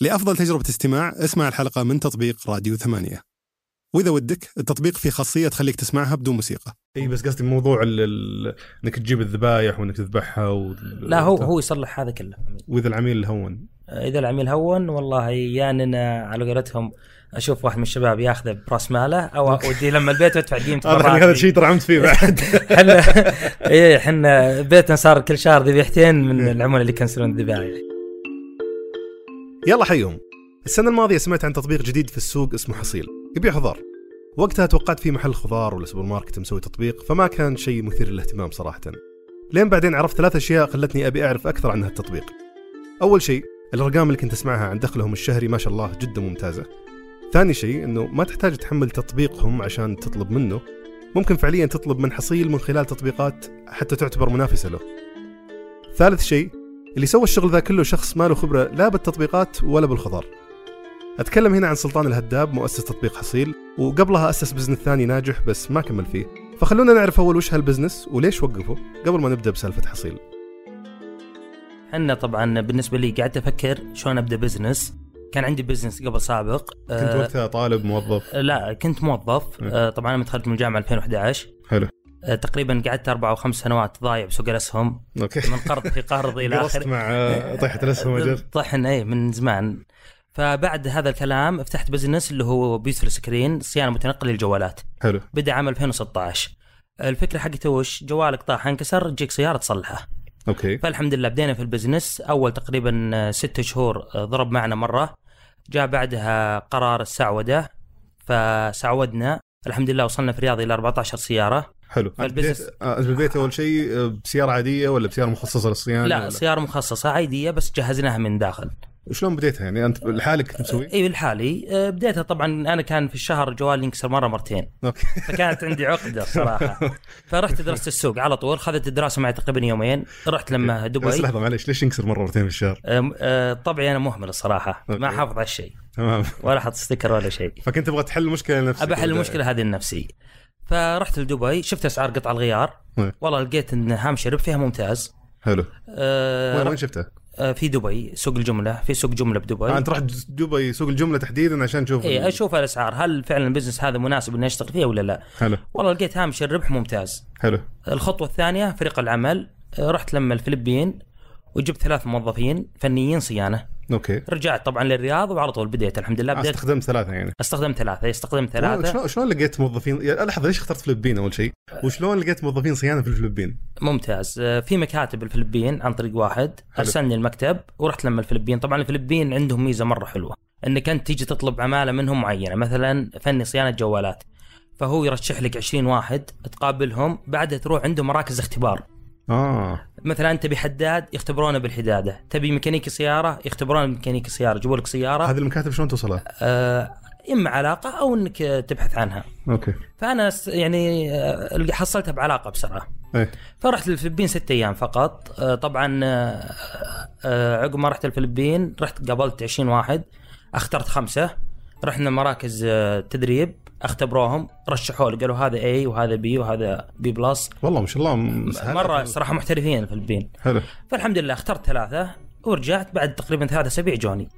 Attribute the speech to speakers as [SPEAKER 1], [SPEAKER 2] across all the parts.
[SPEAKER 1] لأفضل تجربة استماع اسمع الحلقة من تطبيق راديو ثمانية وإذا ودك التطبيق فيه خاصية تخليك تسمعها بدون موسيقى
[SPEAKER 2] اي بس قصدي موضوع ال- ال- انك تجيب الذبايح وانك تذبحها و...
[SPEAKER 3] لا هو هو يصلح هذا كله
[SPEAKER 2] واذا العميل هون
[SPEAKER 3] اذا العميل هون والله يا اننا على قولتهم اشوف واحد من الشباب ياخذه براس ماله او اوديه لما البيت وادفع قيمته
[SPEAKER 2] هذا
[SPEAKER 3] مرة
[SPEAKER 2] هذا
[SPEAKER 3] واحدة.
[SPEAKER 2] الشيء ترى عمت فيه بعد
[SPEAKER 3] احنا ايه احنا بيتنا صار كل شهر ذبيحتين من
[SPEAKER 2] إيه.
[SPEAKER 3] العملاء اللي يكنسلون الذبايح
[SPEAKER 2] يلا حيهم السنة الماضية سمعت عن تطبيق جديد في السوق اسمه حصيل يبيع خضار وقتها توقعت في محل خضار ولا سوبر ماركت مسوي تطبيق فما كان شيء مثير للاهتمام صراحة لين بعدين عرفت ثلاث أشياء خلتني أبي أعرف أكثر عن هالتطبيق أول شيء الأرقام اللي كنت أسمعها عن دخلهم الشهري ما شاء الله جدا ممتازة ثاني شيء أنه ما تحتاج تحمل تطبيقهم عشان تطلب منه ممكن فعليا تطلب من حصيل من خلال تطبيقات حتى تعتبر منافسة له ثالث شيء اللي سوى الشغل ذا كله شخص ما له خبرة لا بالتطبيقات ولا بالخضار أتكلم هنا عن سلطان الهداب مؤسس تطبيق حصيل وقبلها أسس بزنس ثاني ناجح بس ما كمل فيه فخلونا نعرف أول وش هالبزنس وليش وقفه قبل ما نبدأ بسالفة حصيل
[SPEAKER 3] احنا طبعا بالنسبه لي قعدت افكر شلون ابدا بزنس كان عندي بزنس قبل سابق
[SPEAKER 2] كنت إيه.
[SPEAKER 3] آه،
[SPEAKER 2] وقتها طالب موظف
[SPEAKER 3] لا كنت موظف
[SPEAKER 2] م.
[SPEAKER 3] آه، طبعا انا متخرج من الجامعه 2011
[SPEAKER 2] حلو
[SPEAKER 3] آه، تقريبا قعدت اربع او خمس سنوات ضايع بسوق الاسهم
[SPEAKER 2] اوكي
[SPEAKER 3] من قرض في قرض الى
[SPEAKER 2] جلست
[SPEAKER 3] اخره
[SPEAKER 2] مع آه، طيحة الأسهم أجل
[SPEAKER 3] طحن اي من زمان فبعد هذا الكلام فتحت بزنس اللي هو بيوتفل سكرين صيانه متنقله للجوالات
[SPEAKER 2] حلو
[SPEAKER 3] بدا عام 2016 الفكره حقته وش جوالك طاح انكسر تجيك سياره تصلحه
[SPEAKER 2] اوكي
[SPEAKER 3] فالحمد لله بدينا في البزنس اول تقريبا آه، ست شهور آه، ضرب معنا مره جاء بعدها قرار السعوده فسعودنا الحمد لله وصلنا في الرياض الى 14 سياره
[SPEAKER 2] حلو أنت
[SPEAKER 3] فالبزنس-
[SPEAKER 2] بديت- آه، أنت بديت أول شيء آه، بسيارة عادية ولا بسيارة مخصصة للصيانة
[SPEAKER 3] لا
[SPEAKER 2] ولا-
[SPEAKER 3] سياره مخصصه عاديه بس جهزناها من داخل
[SPEAKER 2] شلون بديتها يعني أنت لحالك كنت مسوي؟
[SPEAKER 3] اي الحالي آه، بديتها طبعا انا كان في الشهر جوالي ينكسر مره مرتين
[SPEAKER 2] اوكي
[SPEAKER 3] فكانت عندي عقده صراحه فرحت درست السوق على طول خذت الدراسه معي تقريبا يومين رحت لما
[SPEAKER 2] بس
[SPEAKER 3] دبي
[SPEAKER 2] لحظة معليش ليش ينكسر مرتين في الشهر؟
[SPEAKER 3] آم، آه، طبعي انا مهمل الصراحه ما
[SPEAKER 2] أوكي.
[SPEAKER 3] حافظ على الشيء
[SPEAKER 2] تمام
[SPEAKER 3] ولا حط ستيكر ولا شيء
[SPEAKER 2] فكنت تبغى تحل المشكله لنفسك
[SPEAKER 3] ابى احل المشكله هذه النفسي فرحت لدبي شفت اسعار قطع الغيار
[SPEAKER 2] إيه.
[SPEAKER 3] والله لقيت ان هامش رب فيها ممتاز
[SPEAKER 2] حلو
[SPEAKER 3] آه،
[SPEAKER 2] وين وين شفته؟
[SPEAKER 3] آه، في دبي سوق الجمله في سوق جمله بدبي
[SPEAKER 2] آه انت رحت دبي سوق الجمله تحديدا عشان تشوف ال-
[SPEAKER 3] اي اشوف الاسعار هل فعلا البزنس هذا مناسب اني اشتغل فيه ولا لا
[SPEAKER 2] حلو
[SPEAKER 3] والله لقيت هامش الربح ممتاز
[SPEAKER 2] حلو
[SPEAKER 3] الخطوه الثانيه فريق العمل آه، رحت لما الفلبين وجبت ثلاث موظفين فنيين صيانه
[SPEAKER 2] اوكي
[SPEAKER 3] رجعت طبعا للرياض وعلى طول بديت الحمد لله
[SPEAKER 2] آه،
[SPEAKER 3] بديت
[SPEAKER 2] استخدمت ثلاثه يعني
[SPEAKER 3] استخدمت ثلاثه استخدمت ثلاثه
[SPEAKER 2] شلون شلون لقيت موظفين يا لحظه ليش اخترت فلبين اول شيء؟ وشلون لقيت موظفين صيانه في الفلبين؟
[SPEAKER 3] ممتاز آه، في مكاتب الفلبين عن طريق واحد ارسلني المكتب ورحت لما الفلبين طبعا الفلبين عندهم ميزه مره حلوه انك انت تيجي تطلب عماله منهم معينه مثلا فني صيانه جوالات فهو يرشح لك 20 واحد تقابلهم بعدها تروح عندهم مراكز اختبار
[SPEAKER 2] اه
[SPEAKER 3] مثلا انت بحداد يختبرونه بالحداده تبي ميكانيكي سياره يختبرونه بميكانيكي سياره يجيبوا لك سياره
[SPEAKER 2] هذه المكاتب شلون توصلها؟
[SPEAKER 3] آه، اما علاقه او انك آه، تبحث عنها
[SPEAKER 2] اوكي
[SPEAKER 3] فانا س- يعني آه، اللي حصلتها بعلاقه بسرعه
[SPEAKER 2] ايه
[SPEAKER 3] فرحت للفلبين ستة ايام فقط آه، طبعا آه، آه، عقب ما رحت الفلبين رحت قابلت 20 واحد اخترت خمسه رحنا مراكز آه، تدريب اختبروهم رشحوا لي قالوا هذا اي وهذا بي وهذا بي بلس
[SPEAKER 2] والله ما شاء الله م-
[SPEAKER 3] مره صراحه محترفين الفلبين
[SPEAKER 2] حلو
[SPEAKER 3] فالحمد لله اخترت ثلاثه ورجعت بعد تقريبا ثلاثة اسابيع جوني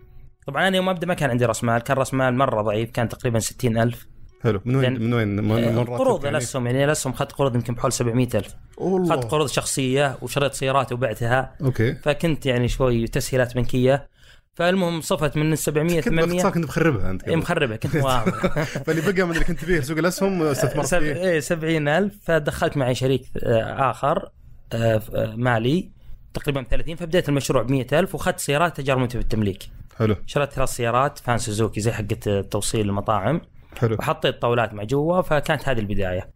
[SPEAKER 3] طبعا انا يوم ابدا ما كان عندي راس مال كان راس مال مره ضعيف كان تقريبا 60000 ألف
[SPEAKER 2] حلو من وين
[SPEAKER 3] لأن- إيه،
[SPEAKER 2] من وين من من راتبك
[SPEAKER 3] قروض
[SPEAKER 2] يعني؟
[SPEAKER 3] الاسهم يعني الاسهم اخذت قروض يمكن بحول 700000
[SPEAKER 2] والله
[SPEAKER 3] اخذت قروض شخصيه وشريت سيارات وبعتها
[SPEAKER 2] اوكي
[SPEAKER 3] فكنت يعني شوي تسهيلات بنكيه فالمهم صفت من 700
[SPEAKER 2] كنت باختصار
[SPEAKER 3] 800
[SPEAKER 2] كنت مخربها انت
[SPEAKER 3] إيه، مخربه كنت مواهب
[SPEAKER 2] فاللي بقى من اللي كنت فيه سوق الاسهم استثمرت
[SPEAKER 3] سب...
[SPEAKER 2] فيه
[SPEAKER 3] إيه 70000 فدخلت معي شريك آه، اخر آه، ف- آه، مالي تقريبا 30 فبديت المشروع ب 100000 واخذت سيارات تجارب في التمليك
[SPEAKER 2] حلو
[SPEAKER 3] شريت ثلاث سيارات فان سوزوكي زي حقت توصيل المطاعم
[SPEAKER 2] حلو
[SPEAKER 3] وحطيت طاولات مع جوا فكانت هذه البدايه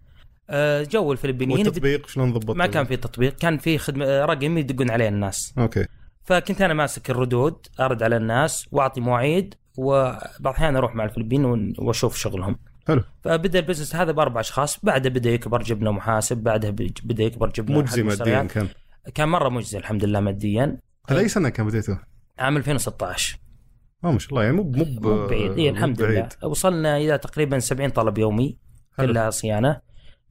[SPEAKER 3] آه، جو الفلبينيين
[SPEAKER 2] والتطبيق شلون ضبطت
[SPEAKER 3] ما كان في تطبيق كان في خدمه آه، رقم يدقون عليه الناس
[SPEAKER 2] اوكي
[SPEAKER 3] فكنت انا ماسك الردود ارد على الناس واعطي مواعيد وبعض الاحيان اروح مع الفلبين ون- واشوف شغلهم
[SPEAKER 2] حلو
[SPEAKER 3] فبدا البزنس هذا باربع اشخاص بعده بدا يكبر جبنا محاسب بعدها بج- بدا يكبر جبنا
[SPEAKER 2] مجزي
[SPEAKER 3] حق
[SPEAKER 2] ماديا
[SPEAKER 3] مشتريات.
[SPEAKER 2] كان
[SPEAKER 3] كان مره مجزي الحمد لله ماديا
[SPEAKER 2] هذا اي سنه كان بديته؟
[SPEAKER 3] عام 2016
[SPEAKER 2] اه ما شاء الله يعني مو مو ب-
[SPEAKER 3] مو بعيد إيه
[SPEAKER 2] مو
[SPEAKER 3] الحمد
[SPEAKER 2] بعيد.
[SPEAKER 3] لله وصلنا الى تقريبا 70 طلب يومي
[SPEAKER 2] حلو.
[SPEAKER 3] كلها صيانه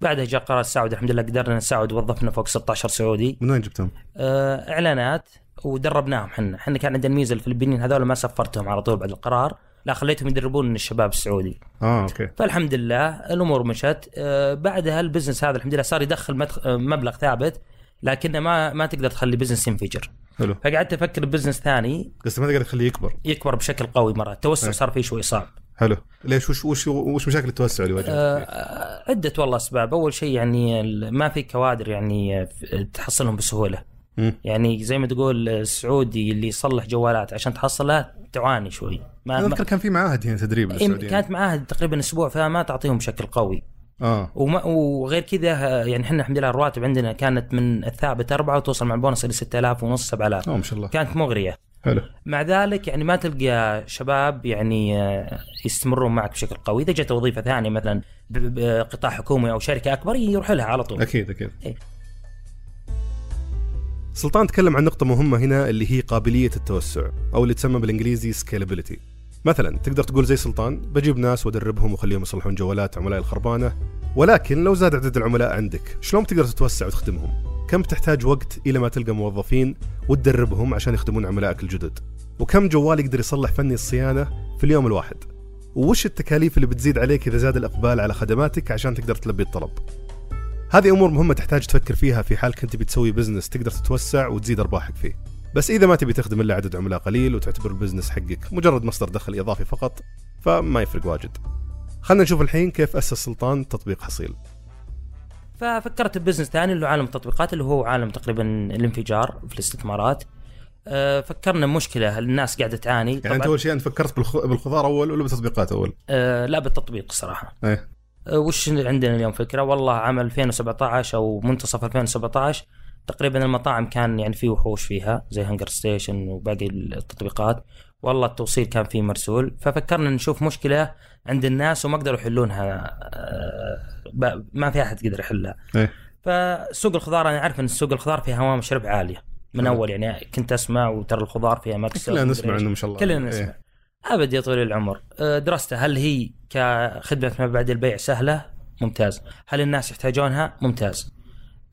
[SPEAKER 3] بعدها جاء قرار السعودي الحمد لله قدرنا نساعد وظفنا فوق 16 سعودي
[SPEAKER 2] من وين جبتهم؟
[SPEAKER 3] آه، اعلانات ودربناهم احنا احنا كان عندنا الميزه الفلبينيين هذول ما سفرتهم على طول بعد القرار لا خليتهم يدربون الشباب السعودي
[SPEAKER 2] اه اوكي
[SPEAKER 3] فالحمد لله الامور مشت آه، بعدها البزنس هذا الحمد لله صار يدخل مدخ- آه، مبلغ ثابت لكنه ما ما تقدر تخلي بزنس ينفجر
[SPEAKER 2] حلو
[SPEAKER 3] فقعدت افكر ببزنس ثاني
[SPEAKER 2] بس ما تقدر تخليه يكبر
[SPEAKER 3] يكبر بشكل قوي مره التوسع
[SPEAKER 2] أي.
[SPEAKER 3] صار فيه شوي صعب
[SPEAKER 2] حلو ليش وش وش وش مشاكل التوسع اللي
[SPEAKER 3] آه،
[SPEAKER 2] واجهتك؟
[SPEAKER 3] آه، عدة والله أسباب أول شيء يعني ال- ما في كوادر يعني آه، ف- تحصلهم بسهولة
[SPEAKER 2] مم.
[SPEAKER 3] يعني زي ما تقول آه، السعودي اللي يصلح جوالات عشان تحصله تعاني شوي ما,
[SPEAKER 2] انا
[SPEAKER 3] ما
[SPEAKER 2] اذكر كان في معاهد هنا تدريب
[SPEAKER 3] إيه،
[SPEAKER 2] للسعوديين
[SPEAKER 3] كانت معاهد تقريبا اسبوع فما تعطيهم بشكل قوي
[SPEAKER 2] اه
[SPEAKER 3] وما وغير كذا آه، يعني احنا الحمد لله الرواتب عندنا كانت من الثابت أربعة وتوصل مع البونص إلى 6000 ونص 7000
[SPEAKER 2] اه ما شاء الله
[SPEAKER 3] كانت مغرية
[SPEAKER 2] حلو
[SPEAKER 3] مع ذلك يعني ما تلقى شباب يعني آه، يستمرون معك بشكل قوي اذا جت وظيفه ثانيه مثلا ب- ب- قطاع حكومي او شركه اكبر يروح لها على طول
[SPEAKER 2] اكيد اكيد
[SPEAKER 3] إيه.
[SPEAKER 2] سلطان تكلم عن نقطة مهمة هنا اللي هي قابلية التوسع أو اللي تسمى بالإنجليزي scalability مثلا تقدر تقول زي سلطان بجيب ناس وأدربهم وأخليهم يصلحون جوالات عملائي الخربانة ولكن لو زاد عدد العملاء عندك شلون تقدر تتوسع وتخدمهم كم تحتاج وقت إلى ما تلقى موظفين وتدربهم عشان يخدمون عملائك الجدد وكم جوال يقدر يصلح فني الصيانة في اليوم الواحد وش التكاليف اللي بتزيد عليك إذا زاد الإقبال على خدماتك عشان تقدر تلبي الطلب هذه امور مهمه تحتاج تفكر فيها في حال كنت بتسوي بزنس تقدر تتوسع وتزيد ارباحك فيه بس اذا ما تبي تخدم الا عدد عملاء قليل وتعتبر البزنس حقك مجرد مصدر دخل اضافي فقط فما يفرق واجد خلنا نشوف الحين كيف اسس سلطان تطبيق حصيل
[SPEAKER 3] ففكرت ببزنس ثاني اللي هو عالم التطبيقات اللي هو عالم تقريبا الانفجار في الاستثمارات آه، فكرنا مشكله الناس قاعده تعاني
[SPEAKER 2] يعني انت
[SPEAKER 3] طبعاً،
[SPEAKER 2] اول شيء انت فكرت بالخ- بالخضار اول ولا بالتطبيقات اول
[SPEAKER 3] آه، لا بالتطبيق الصراحه
[SPEAKER 2] ايه
[SPEAKER 3] آه، وش عندنا اليوم فكره والله عام 2017 او منتصف 2017 تقريبا المطاعم كان يعني في وحوش فيها زي هنجر ستيشن وباقي التطبيقات والله التوصيل كان فيه مرسول ففكرنا نشوف مشكله عند الناس وما قدروا يحلونها آه، ب- ما في احد قدر يحلها
[SPEAKER 2] ايه
[SPEAKER 3] فسوق الخضار انا عارف ان سوق الخضار فيها هوامش ربح عاليه من
[SPEAKER 2] حلو.
[SPEAKER 3] اول يعني كنت اسمع وترى الخضار فيها مكسب
[SPEAKER 2] كلنا
[SPEAKER 3] ومدري
[SPEAKER 2] نسمع
[SPEAKER 3] إيش.
[SPEAKER 2] انه ما شاء الله
[SPEAKER 3] كلنا نسمع
[SPEAKER 2] إيه.
[SPEAKER 3] ابد يا طويل العمر أه، دراسته هل هي كخدمه ما بعد البيع سهله؟ ممتاز. هل الناس يحتاجونها؟ ممتاز.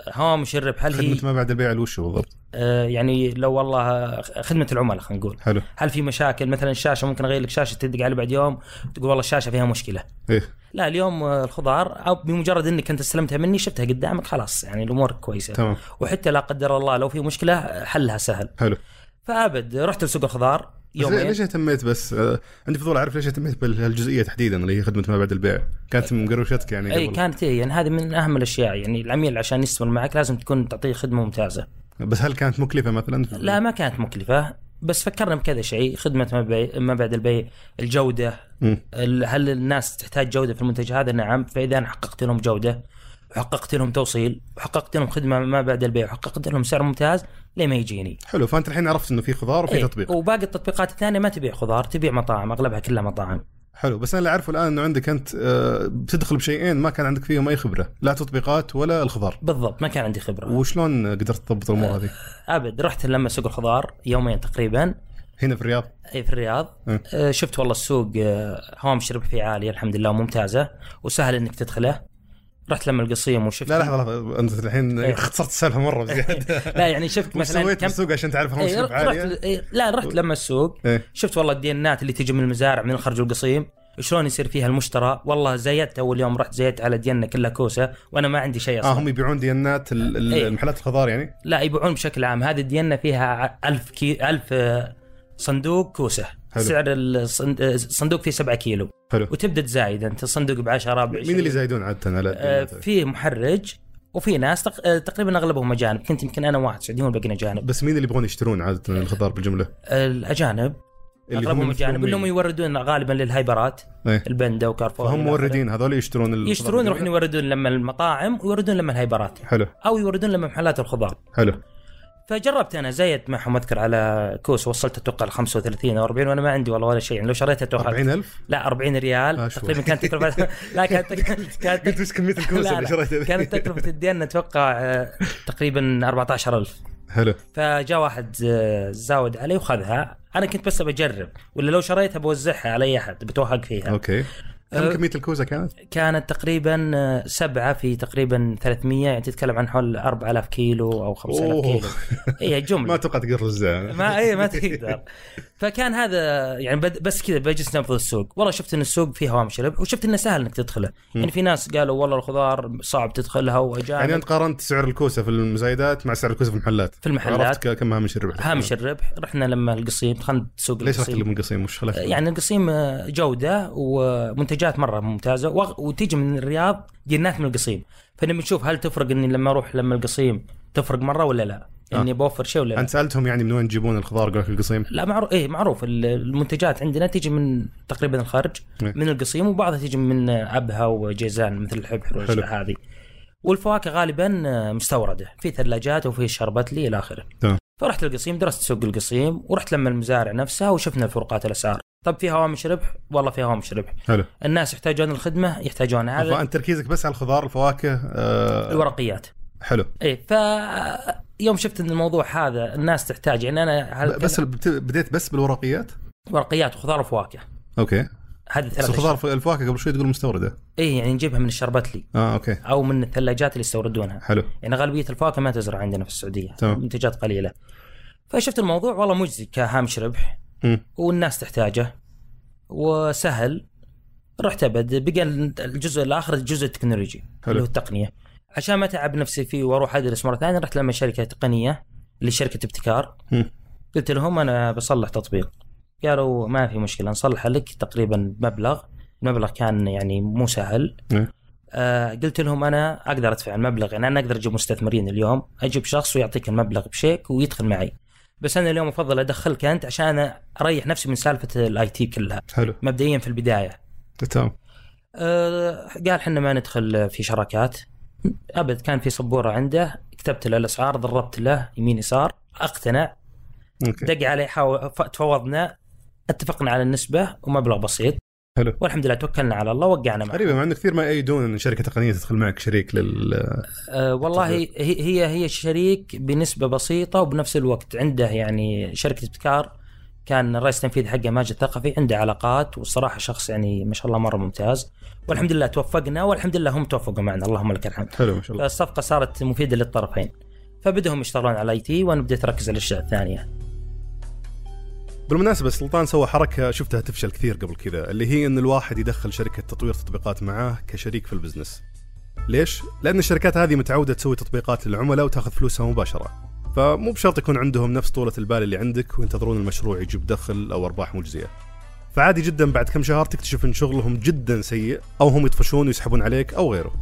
[SPEAKER 3] أه، هوامش الربح هل هي
[SPEAKER 2] خدمه ما بعد البيع الوش بالضبط
[SPEAKER 3] أه، يعني لو والله أه، خدمه العملاء خلينا نقول
[SPEAKER 2] حلو
[SPEAKER 3] هل في مشاكل مثلا الشاشه ممكن اغير لك شاشه تدق عليه بعد يوم تقول والله الشاشه فيها مشكله
[SPEAKER 2] ايه
[SPEAKER 3] لا اليوم أه، الخضار او بمجرد انك انت استلمتها مني شفتها قدامك خلاص يعني الامور كويسه
[SPEAKER 2] تمام
[SPEAKER 3] وحتى لا قدر الله لو في مشكله حلها سهل
[SPEAKER 2] حلو
[SPEAKER 3] فابد رحت لسوق الخضار
[SPEAKER 2] بس ليه-
[SPEAKER 3] يومين
[SPEAKER 2] ليش اهتميت بس آه، عندي فضول اعرف ليش اهتميت بالجزئيه تحديدا اللي هي خدمه ما بعد البيع كانت من مقروشتك يعني
[SPEAKER 3] اي
[SPEAKER 2] قبل.
[SPEAKER 3] كانت هي يعني هذه من اهم الاشياء يعني العميل عشان يستمر معك لازم تكون تعطيه خدمه ممتازه
[SPEAKER 2] بس هل كانت مكلفه مثلا؟
[SPEAKER 3] لا ما كانت مكلفه بس فكرنا بكذا شيء خدمه ما بي- ما بعد البيع الجوده
[SPEAKER 2] مم.
[SPEAKER 3] ال- هل الناس تحتاج جوده في المنتج هذا نعم فاذا انا حققت لهم جوده وحققت لهم توصيل وحققت لهم خدمه ما بعد البيع وحققت لهم سعر ممتاز ليه ما يجيني
[SPEAKER 2] حلو فانت الحين عرفت انه في خضار وفي
[SPEAKER 3] إيه،
[SPEAKER 2] تطبيق
[SPEAKER 3] وباقي التطبيقات الثانيه ما تبيع خضار تبيع مطاعم اغلبها كلها مطاعم
[SPEAKER 2] حلو بس انا اللي اعرفه الان انه عندك انت آه، بتدخل بشيئين ما كان عندك فيهم اي خبره لا تطبيقات ولا الخضار
[SPEAKER 3] بالضبط ما كان عندي خبره
[SPEAKER 2] وشلون قدرت تضبط الامور هذه؟
[SPEAKER 3] ابد رحت لما سوق الخضار يومين تقريبا
[SPEAKER 2] هنا في الرياض
[SPEAKER 3] إيه، في الرياض
[SPEAKER 2] أه.
[SPEAKER 3] آه، شفت والله السوق آه، هوامش ربح فيه عاليه الحمد لله ممتازه وسهل انك تدخله رحت لما القصيم وشفت
[SPEAKER 2] لا لحظه لحظه انت الحين
[SPEAKER 3] إيه.
[SPEAKER 2] اختصرت السالفه مره بزياده
[SPEAKER 3] لا يعني شفت
[SPEAKER 2] وش
[SPEAKER 3] مثلا
[SPEAKER 2] سويت
[SPEAKER 3] كم
[SPEAKER 2] بالسوق عشان تعرف هم
[SPEAKER 3] إيه،
[SPEAKER 2] شرب عاليه؟
[SPEAKER 3] رحت إيه، لا رحت لما السوق
[SPEAKER 2] إيه.
[SPEAKER 3] شفت والله الدينات اللي تجي من المزارع من الخرج والقصيم شلون يصير فيها المشترى والله زيدت اول يوم رحت زيدت على دينا كلها كوسه وانا ما عندي شيء
[SPEAKER 2] اه
[SPEAKER 3] اصلا
[SPEAKER 2] هم يبيعون ديانات ال- ال-
[SPEAKER 3] إيه.
[SPEAKER 2] المحلات الخضار يعني؟
[SPEAKER 3] لا يبيعون بشكل عام هذه الدينا فيها ألف كي ألف آه، صندوق كوسه
[SPEAKER 2] حلو.
[SPEAKER 3] سعر الصند- آه، الصندوق فيه 7 كيلو
[SPEAKER 2] حلو
[SPEAKER 3] وتبدا تزايد انت صندوق ب 10 ب 20
[SPEAKER 2] مين اللي يزايدون عاده على
[SPEAKER 3] يعني؟ آه،
[SPEAKER 2] الديانات؟
[SPEAKER 3] في محرج وفي ناس تق... آه، تقريبا اغلبهم اجانب كنت يمكن انا واحد سعوديين والباقيين اجانب
[SPEAKER 2] بس مين اللي يبغون يشترون عاده الخضار بالجمله؟
[SPEAKER 3] آه، الاجانب
[SPEAKER 2] اللي
[SPEAKER 3] اغلبهم
[SPEAKER 2] مثلهم
[SPEAKER 3] اجانب انهم
[SPEAKER 2] مين؟
[SPEAKER 3] يوردون غالبا للهايبرات
[SPEAKER 2] إيه.
[SPEAKER 3] البندا وكارفور
[SPEAKER 2] فهم
[SPEAKER 3] إلى آخره.
[SPEAKER 2] موردين هذول يشترون الخضار
[SPEAKER 3] يشترون يروحون
[SPEAKER 2] بالجملة؟
[SPEAKER 3] يوردون لما المطاعم ويوردون لما الهايبرات
[SPEAKER 2] حلو
[SPEAKER 3] او يوردون لما محلات الخضار
[SPEAKER 2] حلو
[SPEAKER 3] فجربت انا زيت معهم اذكر على كوس وصلت اتوقع ل 35 او 40 وانا ما عندي والله ولا شيء يعني لو شريتها اتوقع
[SPEAKER 2] 40000
[SPEAKER 3] لا 40 ريال
[SPEAKER 2] آه، شوي.
[SPEAKER 3] تقريبا كانت تكلفه لا كانت كانت
[SPEAKER 2] قلت وش كميه الكوسه
[SPEAKER 3] لا
[SPEAKER 2] اللي
[SPEAKER 3] لا
[SPEAKER 2] شريتها ذي؟
[SPEAKER 3] كانت تكلفه الدين اتوقع آه، تقريبا 14000
[SPEAKER 2] حلو
[SPEAKER 3] فجاء واحد آه، زاود علي وخذها انا كنت بس بجرب ولا لو شريتها بوزعها على اي احد بتوهق فيها
[SPEAKER 2] اوكي
[SPEAKER 3] أه،
[SPEAKER 2] كم كميه الكوزه كانت؟
[SPEAKER 3] كانت تقريبا آه، سبعه في تقريبا 300 يعني تتكلم عن حول 4000 كيلو او 5000
[SPEAKER 2] أوه.
[SPEAKER 3] كيلو إيه، هي
[SPEAKER 2] ما
[SPEAKER 3] جمله
[SPEAKER 2] اتوقع تقدر توزعها
[SPEAKER 3] ما اي ما تقدر فكان هذا يعني بد- بس كذا بجلس نبض السوق والله شفت ان السوق فيه هوامش ربح وشفت انه سهل انك تدخله يعني في ناس قالوا والله الخضار صعب تدخلها واجانب
[SPEAKER 2] يعني انت قارنت سعر الكوسه في المزايدات مع سعر الكوسه في المحلات
[SPEAKER 3] في المحلات.
[SPEAKER 2] عرفت ك- كم هامش الربح
[SPEAKER 3] هامش الربح رحنا لما القصيم دخلنا سوق
[SPEAKER 2] ليش رحت
[SPEAKER 3] القصيم
[SPEAKER 2] من قصيم وش خلاك
[SPEAKER 3] يعني القصيم آه، جوده ومنتجات مره ممتازه وغ- وتيجي من الرياض جنات من القصيم فنبي نشوف هل تفرق اني لما اروح لما القصيم تفرق مره ولا لا؟ اني
[SPEAKER 2] آه.
[SPEAKER 3] بوفر شيء ولا لا؟
[SPEAKER 2] انت سالتهم يعني من وين تجيبون الخضار قالوا لك القصيم
[SPEAKER 3] لا معروف ايه معروف ال- المنتجات عندنا تيجي من تقريبا الخارج
[SPEAKER 2] إيه.
[SPEAKER 3] من القصيم وبعضها تيجي من ابها وجيزان مثل الحبحر والاشياء هذه والفواكه غالبا آه، مستورده في ثلاجات وفي شربتلي الى اخره
[SPEAKER 2] تمام.
[SPEAKER 3] فرحت القصيم درست سوق القصيم ورحت لما المزارع نفسها وشفنا فروقات الاسعار طب في هوامش ربح والله في هوامش ربح
[SPEAKER 2] حلو
[SPEAKER 3] الناس يحتاجون الخدمه يحتاجون هذا
[SPEAKER 2] فانت تركيزك بس على الخضار الفواكه آه
[SPEAKER 3] الورقيات
[SPEAKER 2] حلو
[SPEAKER 3] ايه ف يوم شفت ان الموضوع هذا الناس تحتاج يعني انا
[SPEAKER 2] ب- بس بت- بديت بس بالورقيات
[SPEAKER 3] ورقيات وخضار وفواكه
[SPEAKER 2] اوكي
[SPEAKER 3] هذه
[SPEAKER 2] بس
[SPEAKER 3] ثلاث
[SPEAKER 2] الخضار في- الفواكه قبل شوي تقول مستورده
[SPEAKER 3] ايه يعني نجيبها من الشربتلي
[SPEAKER 2] اه اوكي
[SPEAKER 3] او من الثلاجات اللي يستوردونها
[SPEAKER 2] حلو
[SPEAKER 3] يعني غالبيه الفواكه ما تزرع عندنا في السعوديه
[SPEAKER 2] تمام.
[SPEAKER 3] منتجات قليله فشفت الموضوع والله مجزي كهامش ربح
[SPEAKER 2] مم.
[SPEAKER 3] والناس تحتاجه وسهل رحت ابد بقى الجزء الاخر الجزء التكنولوجي
[SPEAKER 2] حلو.
[SPEAKER 3] اللي هو التقنيه عشان ما اتعب نفسي فيه واروح ادرس مره ثانيه رحت لما شركه تقنيه لشركه ابتكار
[SPEAKER 2] مم.
[SPEAKER 3] قلت لهم انا بصلح تطبيق قالوا ما في مشكله نصلح لك تقريبا مبلغ المبلغ كان يعني مو سهل
[SPEAKER 2] إيه.
[SPEAKER 3] آه قلت لهم انا اقدر ادفع المبلغ يعني انا اقدر اجيب مستثمرين اليوم اجيب شخص ويعطيك المبلغ بشيك ويدخل معي بس انا اليوم افضل ادخلك انت عشان أنا اريح نفسي من سالفه الاي تي كلها
[SPEAKER 2] حلو
[SPEAKER 3] مبدئيا في البدايه
[SPEAKER 2] تمام
[SPEAKER 3] آه، قال حنا ما ندخل في شراكات ابد كان في سبوره عنده كتبت له الاسعار ضربت له يمين يسار اقتنع
[SPEAKER 2] اوكي
[SPEAKER 3] دق عليه حاول ف- تفاوضنا اتفقنا على النسبه ومبلغ بسيط
[SPEAKER 2] حلو.
[SPEAKER 3] والحمد لله توكلنا على الله وقعنا معه
[SPEAKER 2] غريبه مع انه كثير ما يأيدون ان شركه تقنيه تدخل معك شريك لل
[SPEAKER 3] أه والله هي هي هي شريك بنسبه بسيطه وبنفس الوقت عنده يعني شركه ابتكار كان الرئيس التنفيذي حقه ماجد الثقفي عنده علاقات والصراحه شخص يعني ما شاء الله مره ممتاز والحمد لله توفقنا والحمد لله هم توفقوا معنا اللهم لك الحمد
[SPEAKER 2] حلو ما شاء الله
[SPEAKER 3] فالصفقه صارت مفيده للطرفين فبدهم يشتغلون على الاي تي وانا بديت اركز على الاشياء الثانيه
[SPEAKER 2] بالمناسبه سلطان سوى حركه شفتها تفشل كثير قبل كذا اللي هي ان الواحد يدخل شركه تطوير تطبيقات معاه كشريك في البزنس ليش لان الشركات هذه متعوده تسوي تطبيقات للعملاء وتاخذ فلوسها مباشره فمو بشرط يكون عندهم نفس طولة البال اللي عندك وينتظرون المشروع يجيب دخل او ارباح مجزية. فعادي جدا بعد كم شهر تكتشف ان شغلهم جدا سيء او هم يطفشون ويسحبون عليك او غيره.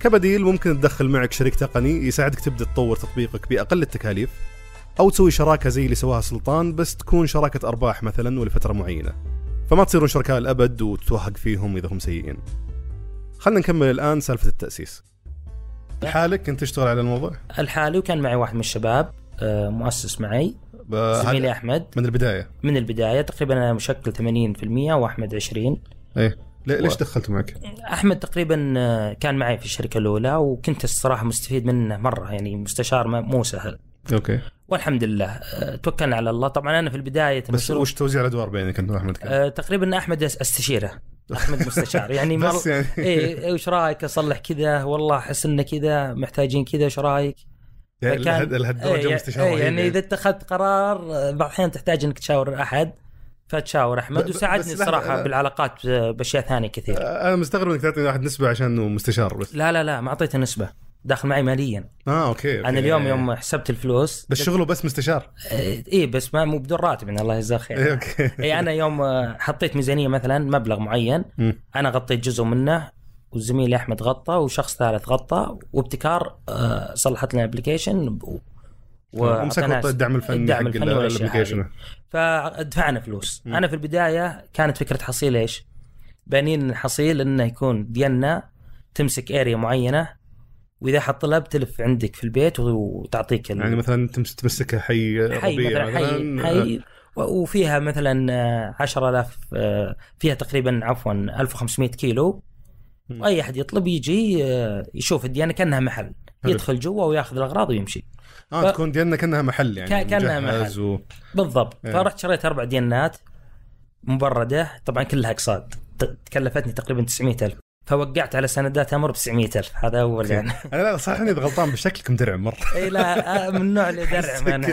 [SPEAKER 2] كبديل ممكن تدخل معك شريك تقني يساعدك تبدا تطور تطبيقك باقل التكاليف او تسوي شراكه زي اللي سواها سلطان بس تكون شراكه ارباح مثلا ولفتره معينه فما تصيرون شركاء الابد وتتوهق فيهم اذا هم سيئين خلنا نكمل الان سالفه التاسيس لحالك كنت تشتغل على الموضوع
[SPEAKER 3] الحالي وكان معي واحد من الشباب آه، مؤسس معي
[SPEAKER 2] ب- هذا
[SPEAKER 3] زميلي احمد
[SPEAKER 2] من البدايه
[SPEAKER 3] من البدايه تقريبا انا مشكل 80% واحمد 20
[SPEAKER 2] ايه لي- ليش دخلت معك؟
[SPEAKER 3] احمد تقريبا آه، كان معي في الشركه الاولى وكنت الصراحه مستفيد منه مره يعني مستشار ما- مو سهل
[SPEAKER 2] اوكي
[SPEAKER 3] والحمد لله آه، توكلنا على الله طبعا انا في البدايه
[SPEAKER 2] بس
[SPEAKER 3] المشروع-
[SPEAKER 2] وش توزيع الادوار بينك انت واحمد كان؟
[SPEAKER 3] آه، تقريبا احمد أس- استشيره احمد مستشار يعني مر...
[SPEAKER 2] بس يعني
[SPEAKER 3] ايه إيه، وش رايك اصلح كذا والله احس انه كذا محتاجين كذا وش رايك
[SPEAKER 2] يعني
[SPEAKER 3] فكان-
[SPEAKER 2] لهد- لهالدرجه
[SPEAKER 3] إيه،
[SPEAKER 2] مستشار
[SPEAKER 3] إيه، يعني
[SPEAKER 2] رهيب
[SPEAKER 3] اذا اتخذت قرار آه، بعض الاحيان تحتاج انك تشاور احد فتشاور
[SPEAKER 2] ب-
[SPEAKER 3] احمد
[SPEAKER 2] ب-
[SPEAKER 3] وساعدني
[SPEAKER 2] بس لا-
[SPEAKER 3] الصراحه
[SPEAKER 2] لا.
[SPEAKER 3] بالعلاقات آه، باشياء ثانيه كثير
[SPEAKER 2] انا مستغرب انك تعطي واحد نسبه عشان انه مستشار بس
[SPEAKER 3] لا لا لا ما اعطيته نسبه داخل معي ماليا
[SPEAKER 2] اه اوكي, أوكي.
[SPEAKER 3] انا اليوم يوم حسبت الفلوس
[SPEAKER 2] بس شغله بس مستشار
[SPEAKER 3] اي بس ما مو بدون راتب يعني الله يجزاه
[SPEAKER 2] ايه
[SPEAKER 3] خير
[SPEAKER 2] اوكي
[SPEAKER 3] اي انا يوم آه، حطيت ميزانيه مثلا مبلغ معين
[SPEAKER 2] مم.
[SPEAKER 3] انا غطيت جزء منه وزميلي احمد غطى وشخص ثالث غطى وابتكار آه، صلحت لنا الابلكيشن
[SPEAKER 2] ومسكوا الدعم الفني حق
[SPEAKER 3] الدعم الفني
[SPEAKER 2] ال-
[SPEAKER 3] والأشياء
[SPEAKER 2] الابلكيشن
[SPEAKER 3] فدفعنا فلوس انا في البدايه كانت فكره حصيل ايش؟ بانين الحصيل انه يكون ديالنا تمسك اريا معينه واذا حط طلب تلف عندك في البيت وتعطيك ال-
[SPEAKER 2] يعني مثلا تمس- تمسك حي
[SPEAKER 3] حي
[SPEAKER 2] ربيع
[SPEAKER 3] مثلا حي,
[SPEAKER 2] مثلا
[SPEAKER 3] حي و- وفيها مثلا آه، 10000 آه، فيها تقريبا عفوا 1500 كيلو
[SPEAKER 2] مم.
[SPEAKER 3] واي احد يطلب يجي آه، يشوف الديانه كانها محل
[SPEAKER 2] حلو.
[SPEAKER 3] يدخل جوا وياخذ الاغراض ويمشي
[SPEAKER 2] اه
[SPEAKER 3] ف-
[SPEAKER 2] تكون ديالنا كانها محل يعني
[SPEAKER 3] كان- كانها
[SPEAKER 2] مجهز
[SPEAKER 3] محل.
[SPEAKER 2] و...
[SPEAKER 3] بالضبط
[SPEAKER 2] إيه.
[SPEAKER 3] فرحت شريت اربع ديانات مبرده طبعا كلها اقساط ت- تكلفتني تقريبا 900000 فوقعت على سندات امر ب 900000 هذا اول يعني
[SPEAKER 2] انا لا صح اني غلطان بشكلك مدرع مره
[SPEAKER 3] اي لا آه، من النوع اللي درع انا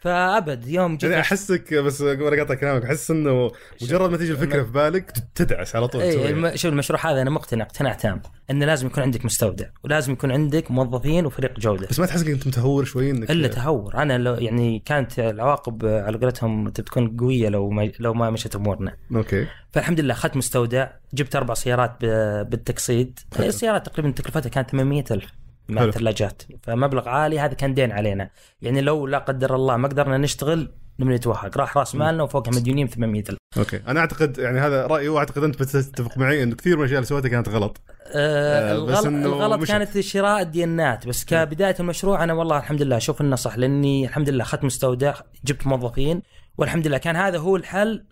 [SPEAKER 3] فابد يوم جيت
[SPEAKER 2] يعني احسك بس قبل اقطع كلامك احس انه مجرد ما تيجي الفكره في بالك تدعس على طول
[SPEAKER 3] اي
[SPEAKER 2] تسويها.
[SPEAKER 3] إيه، الم- شوف المشروع هذا انا مقتنع اقتناع تام انه لازم يكون عندك مستودع ولازم يكون عندك موظفين وفريق جوده
[SPEAKER 2] بس ما تحس انك انت متهور شوي انك
[SPEAKER 3] الا تهور انا لو يعني كانت العواقب على قولتهم تكون قويه لو ما لو ما مشت امورنا
[SPEAKER 2] اوكي
[SPEAKER 3] فالحمد لله اخذت مستودع جبت اربع سيارات ب- بالتقسيط
[SPEAKER 2] حلو.
[SPEAKER 3] السيارات تقريبا تكلفتها كانت 800 الف مع
[SPEAKER 2] حلو.
[SPEAKER 3] الثلاجات فمبلغ عالي هذا كان دين علينا يعني لو لا قدر الله ما قدرنا نشتغل بنتوهق راح راس مالنا وفوقها مديونين 800 الف
[SPEAKER 2] اوكي انا اعتقد يعني هذا رايي واعتقد انت بتتفق معي انه كثير من الاشياء اللي سويتها كانت غلط
[SPEAKER 3] آه،
[SPEAKER 2] آه، بس
[SPEAKER 3] الغلط,
[SPEAKER 2] إنه
[SPEAKER 3] الغلط
[SPEAKER 2] مشت.
[SPEAKER 3] كانت شراء الدينات بس كبدايه المشروع انا والله الحمد لله اشوف انه صح لاني الحمد لله اخذت مستودع جبت موظفين والحمد لله كان هذا هو الحل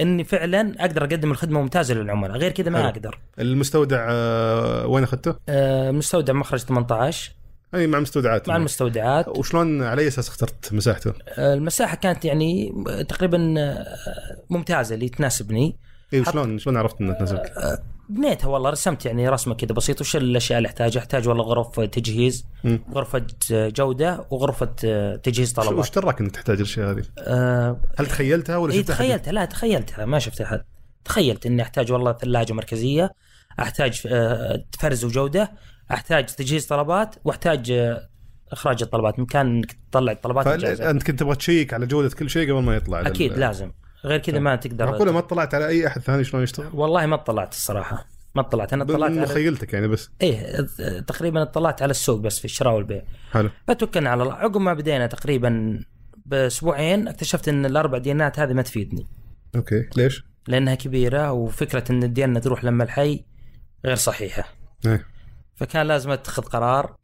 [SPEAKER 3] اني فعلا اقدر اقدم الخدمه ممتازه للعملاء غير كذا
[SPEAKER 2] حلو.
[SPEAKER 3] ما اقدر
[SPEAKER 2] المستودع آه، وين اخذته؟
[SPEAKER 3] آه، مستودع مخرج 18
[SPEAKER 2] اي مع مستودعات
[SPEAKER 3] مع المستودعات
[SPEAKER 2] وشلون على اي اساس اخترت مساحته؟
[SPEAKER 3] آه، المساحه كانت يعني تقريبا آه، ممتازه اللي تناسبني
[SPEAKER 2] اي
[SPEAKER 3] حط-
[SPEAKER 2] إيه،
[SPEAKER 3] آه،
[SPEAKER 2] شلون شلون عرفت انها تناسبك؟
[SPEAKER 3] بنيتها والله رسمت يعني رسمه كذا بسيطه وش الاشياء اللي احتاجها احتاج والله غرف تجهيز
[SPEAKER 2] مم.
[SPEAKER 3] غرفه جوده وغرفه آه، تجهيز طلبات
[SPEAKER 2] وش دراك انك تحتاج الاشياء هذه؟
[SPEAKER 3] آه،
[SPEAKER 2] هل تخيلتها ولا
[SPEAKER 3] اي
[SPEAKER 2] شفتها؟ حد؟
[SPEAKER 3] تخيلتها لا تخيلتها ما شفت احد تخيلت اني احتاج والله ثلاجه مركزيه احتاج آه، فرز وجوده احتاج تجهيز طلبات واحتاج آه، اخراج الطلبات مكان انك تطلع الطلبات الجاهزه
[SPEAKER 2] فانت كنت تبغى تشيك على جوده كل شيء قبل ما يطلع لل-
[SPEAKER 3] اكيد لازم غير
[SPEAKER 2] أه.
[SPEAKER 3] كذا ما تقدر
[SPEAKER 2] معقوله ما اطلعت على اي احد ثاني شلون يشتغل؟
[SPEAKER 3] والله ما اطلعت الصراحه ما اطلعت انا اطلعت
[SPEAKER 2] من
[SPEAKER 3] على...
[SPEAKER 2] مخيلتك يعني بس
[SPEAKER 3] ايه آه، تقريبا اطلعت على السوق بس في الشراء والبيع
[SPEAKER 2] حلو
[SPEAKER 3] فتوكلنا على الله عقب ما بدينا تقريبا باسبوعين اكتشفت ان الاربع دينات هذه ما تفيدني
[SPEAKER 2] اوكي ليش؟
[SPEAKER 3] لانها كبيره وفكره ان الديانه تروح لما الحي غير صحيحه
[SPEAKER 2] إيه.
[SPEAKER 3] فكان لازم اتخذ قرار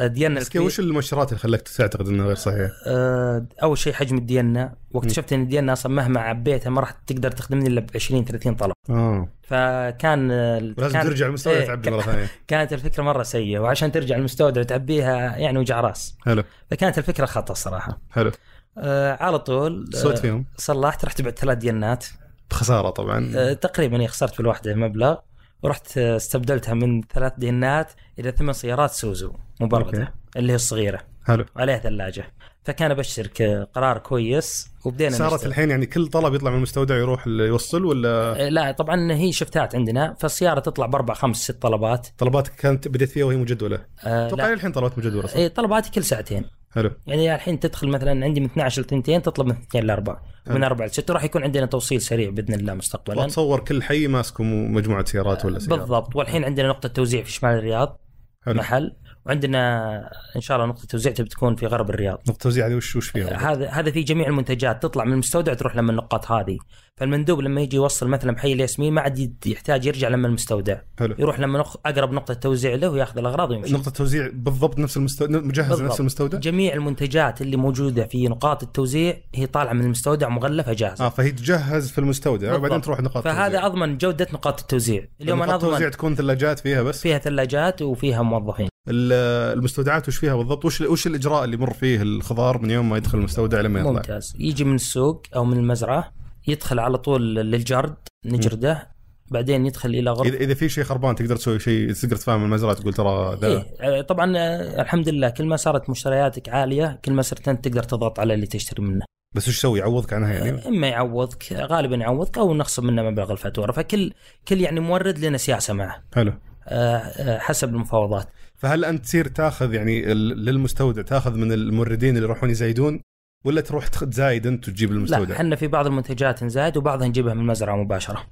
[SPEAKER 3] دينا
[SPEAKER 2] بس كيف- وش المؤشرات اللي خلاك تعتقد انه غير صحيح؟
[SPEAKER 3] اول آه، شيء حجم الدينا واكتشفت ان الدينا اصلا مهما عبيتها ما راح تقدر تخدمني الا ب 20 30 طلب
[SPEAKER 2] اه
[SPEAKER 3] فكان ال-
[SPEAKER 2] ولازم
[SPEAKER 3] كان-
[SPEAKER 2] ترجع المستودع
[SPEAKER 3] إيه،
[SPEAKER 2] تعبي
[SPEAKER 3] كان-
[SPEAKER 2] مره ثانيه
[SPEAKER 3] كانت الفكره مره سيئه وعشان ترجع المستودع تعبيها يعني وجع راس
[SPEAKER 2] حلو
[SPEAKER 3] فكانت الفكره خطا صراحه
[SPEAKER 2] حلو
[SPEAKER 3] آه، على طول آه،
[SPEAKER 2] صوت فيهم
[SPEAKER 3] صلحت رحت بعت ثلاث دينات
[SPEAKER 2] بخساره طبعا
[SPEAKER 3] آه، تقريبا إيه، خسرت في الواحده مبلغ ورحت آه، استبدلتها من ثلاث دينات الى ثمان سيارات سوزو
[SPEAKER 2] أوكي.
[SPEAKER 3] مبرده اللي هي الصغيره
[SPEAKER 2] حلو
[SPEAKER 3] وعليها ثلاجه فكان ابشر قرار كويس وبدينا
[SPEAKER 2] صارت
[SPEAKER 3] نشتغل.
[SPEAKER 2] الحين يعني كل طلب يطلع من المستودع يروح اللي يوصل ولا
[SPEAKER 3] آه، لا طبعا هي شفتات عندنا فالسياره تطلع باربع خمس ست طلبات
[SPEAKER 2] طلباتك كانت بديت فيها وهي مجدوله؟
[SPEAKER 3] آه،
[SPEAKER 2] اتوقع
[SPEAKER 3] لا
[SPEAKER 2] الحين طلبات مجدوله صح؟
[SPEAKER 3] إيه، طلباتي كل ساعتين
[SPEAKER 2] حلو
[SPEAKER 3] يعني الحين تدخل مثلا عندي من 12 ل 2 تطلب من 2 ل 4 من 4 ل 6 راح يكون عندنا توصيل سريع باذن الله مستقبلا
[SPEAKER 2] واتصور كل حي ماسكم مجموعه سيارات ولا سيارات
[SPEAKER 3] بالضبط والحين عندنا نقطه توزيع في شمال الرياض
[SPEAKER 2] حلو
[SPEAKER 3] محل وعندنا ان شاء الله نقطه توزيع بتكون في غرب الرياض
[SPEAKER 2] نقطه توزيع هذه وش وش فيها؟
[SPEAKER 3] هذا هذا في جميع المنتجات تطلع من المستودع تروح لما النقاط هذه فالمندوب لما يجي يوصل مثلا بحي الياسمين ما عاد يد- يحتاج يرجع لما المستودع
[SPEAKER 2] حلو
[SPEAKER 3] يروح لما نق... اقرب نقطه توزيع له وياخذ الاغراض ويمشي
[SPEAKER 2] نقطه توزيع بالضبط نفس المستودع مجهز
[SPEAKER 3] بالضبط.
[SPEAKER 2] نفس المستودع؟
[SPEAKER 3] جميع المنتجات اللي موجوده في نقاط التوزيع هي طالعه من المستودع مغلفه جاهزه
[SPEAKER 2] اه فهي تجهز في المستودع
[SPEAKER 3] بالضبط.
[SPEAKER 2] وبعدين تروح نقاط
[SPEAKER 3] فهذا
[SPEAKER 2] توزيع.
[SPEAKER 3] اضمن جوده نقاط التوزيع اليوم انا
[SPEAKER 2] نقاط توزيع
[SPEAKER 3] اضمن
[SPEAKER 2] تكون ثلاجات فيها بس
[SPEAKER 3] فيها ثلاجات وفيها موظفين
[SPEAKER 2] ال- المستودعات وش فيها بالضبط؟ وش وش الاجراء اللي يمر فيه الخضار من يوم ما يدخل المستودع لما يطلع؟
[SPEAKER 3] ممتاز يجي من السوق او من المزرعه يدخل على طول للجرد نجرده بعدين يدخل الى غرفه
[SPEAKER 2] اذا اذا في شيء خربان تقدر تسوي شيء تقدر تفهم المزرعه تقول ترى ذا
[SPEAKER 3] إيه آه، طبعا آه، الحمد لله كل ما صارت مشترياتك عاليه كل ما صرت انت تقدر تضغط على اللي تشتري منه
[SPEAKER 2] بس وش يسوي يعوضك عنها يعني؟
[SPEAKER 3] اما يعوضك غالبا يعوضك او نخصم منه مبلغ الفاتوره فكل كل يعني مورد لنا سياسه معه
[SPEAKER 2] حلو
[SPEAKER 3] آه، آه، حسب المفاوضات
[SPEAKER 2] فهل انت تصير تاخذ يعني ال- للمستودع تاخذ من الموردين اللي يروحون يزايدون ولا تروح تخ- تزايد انت وتجيب
[SPEAKER 3] لا
[SPEAKER 2] المستودع؟
[SPEAKER 3] احنا في بعض المنتجات نزايد وبعضها نجيبها من المزرعه مباشره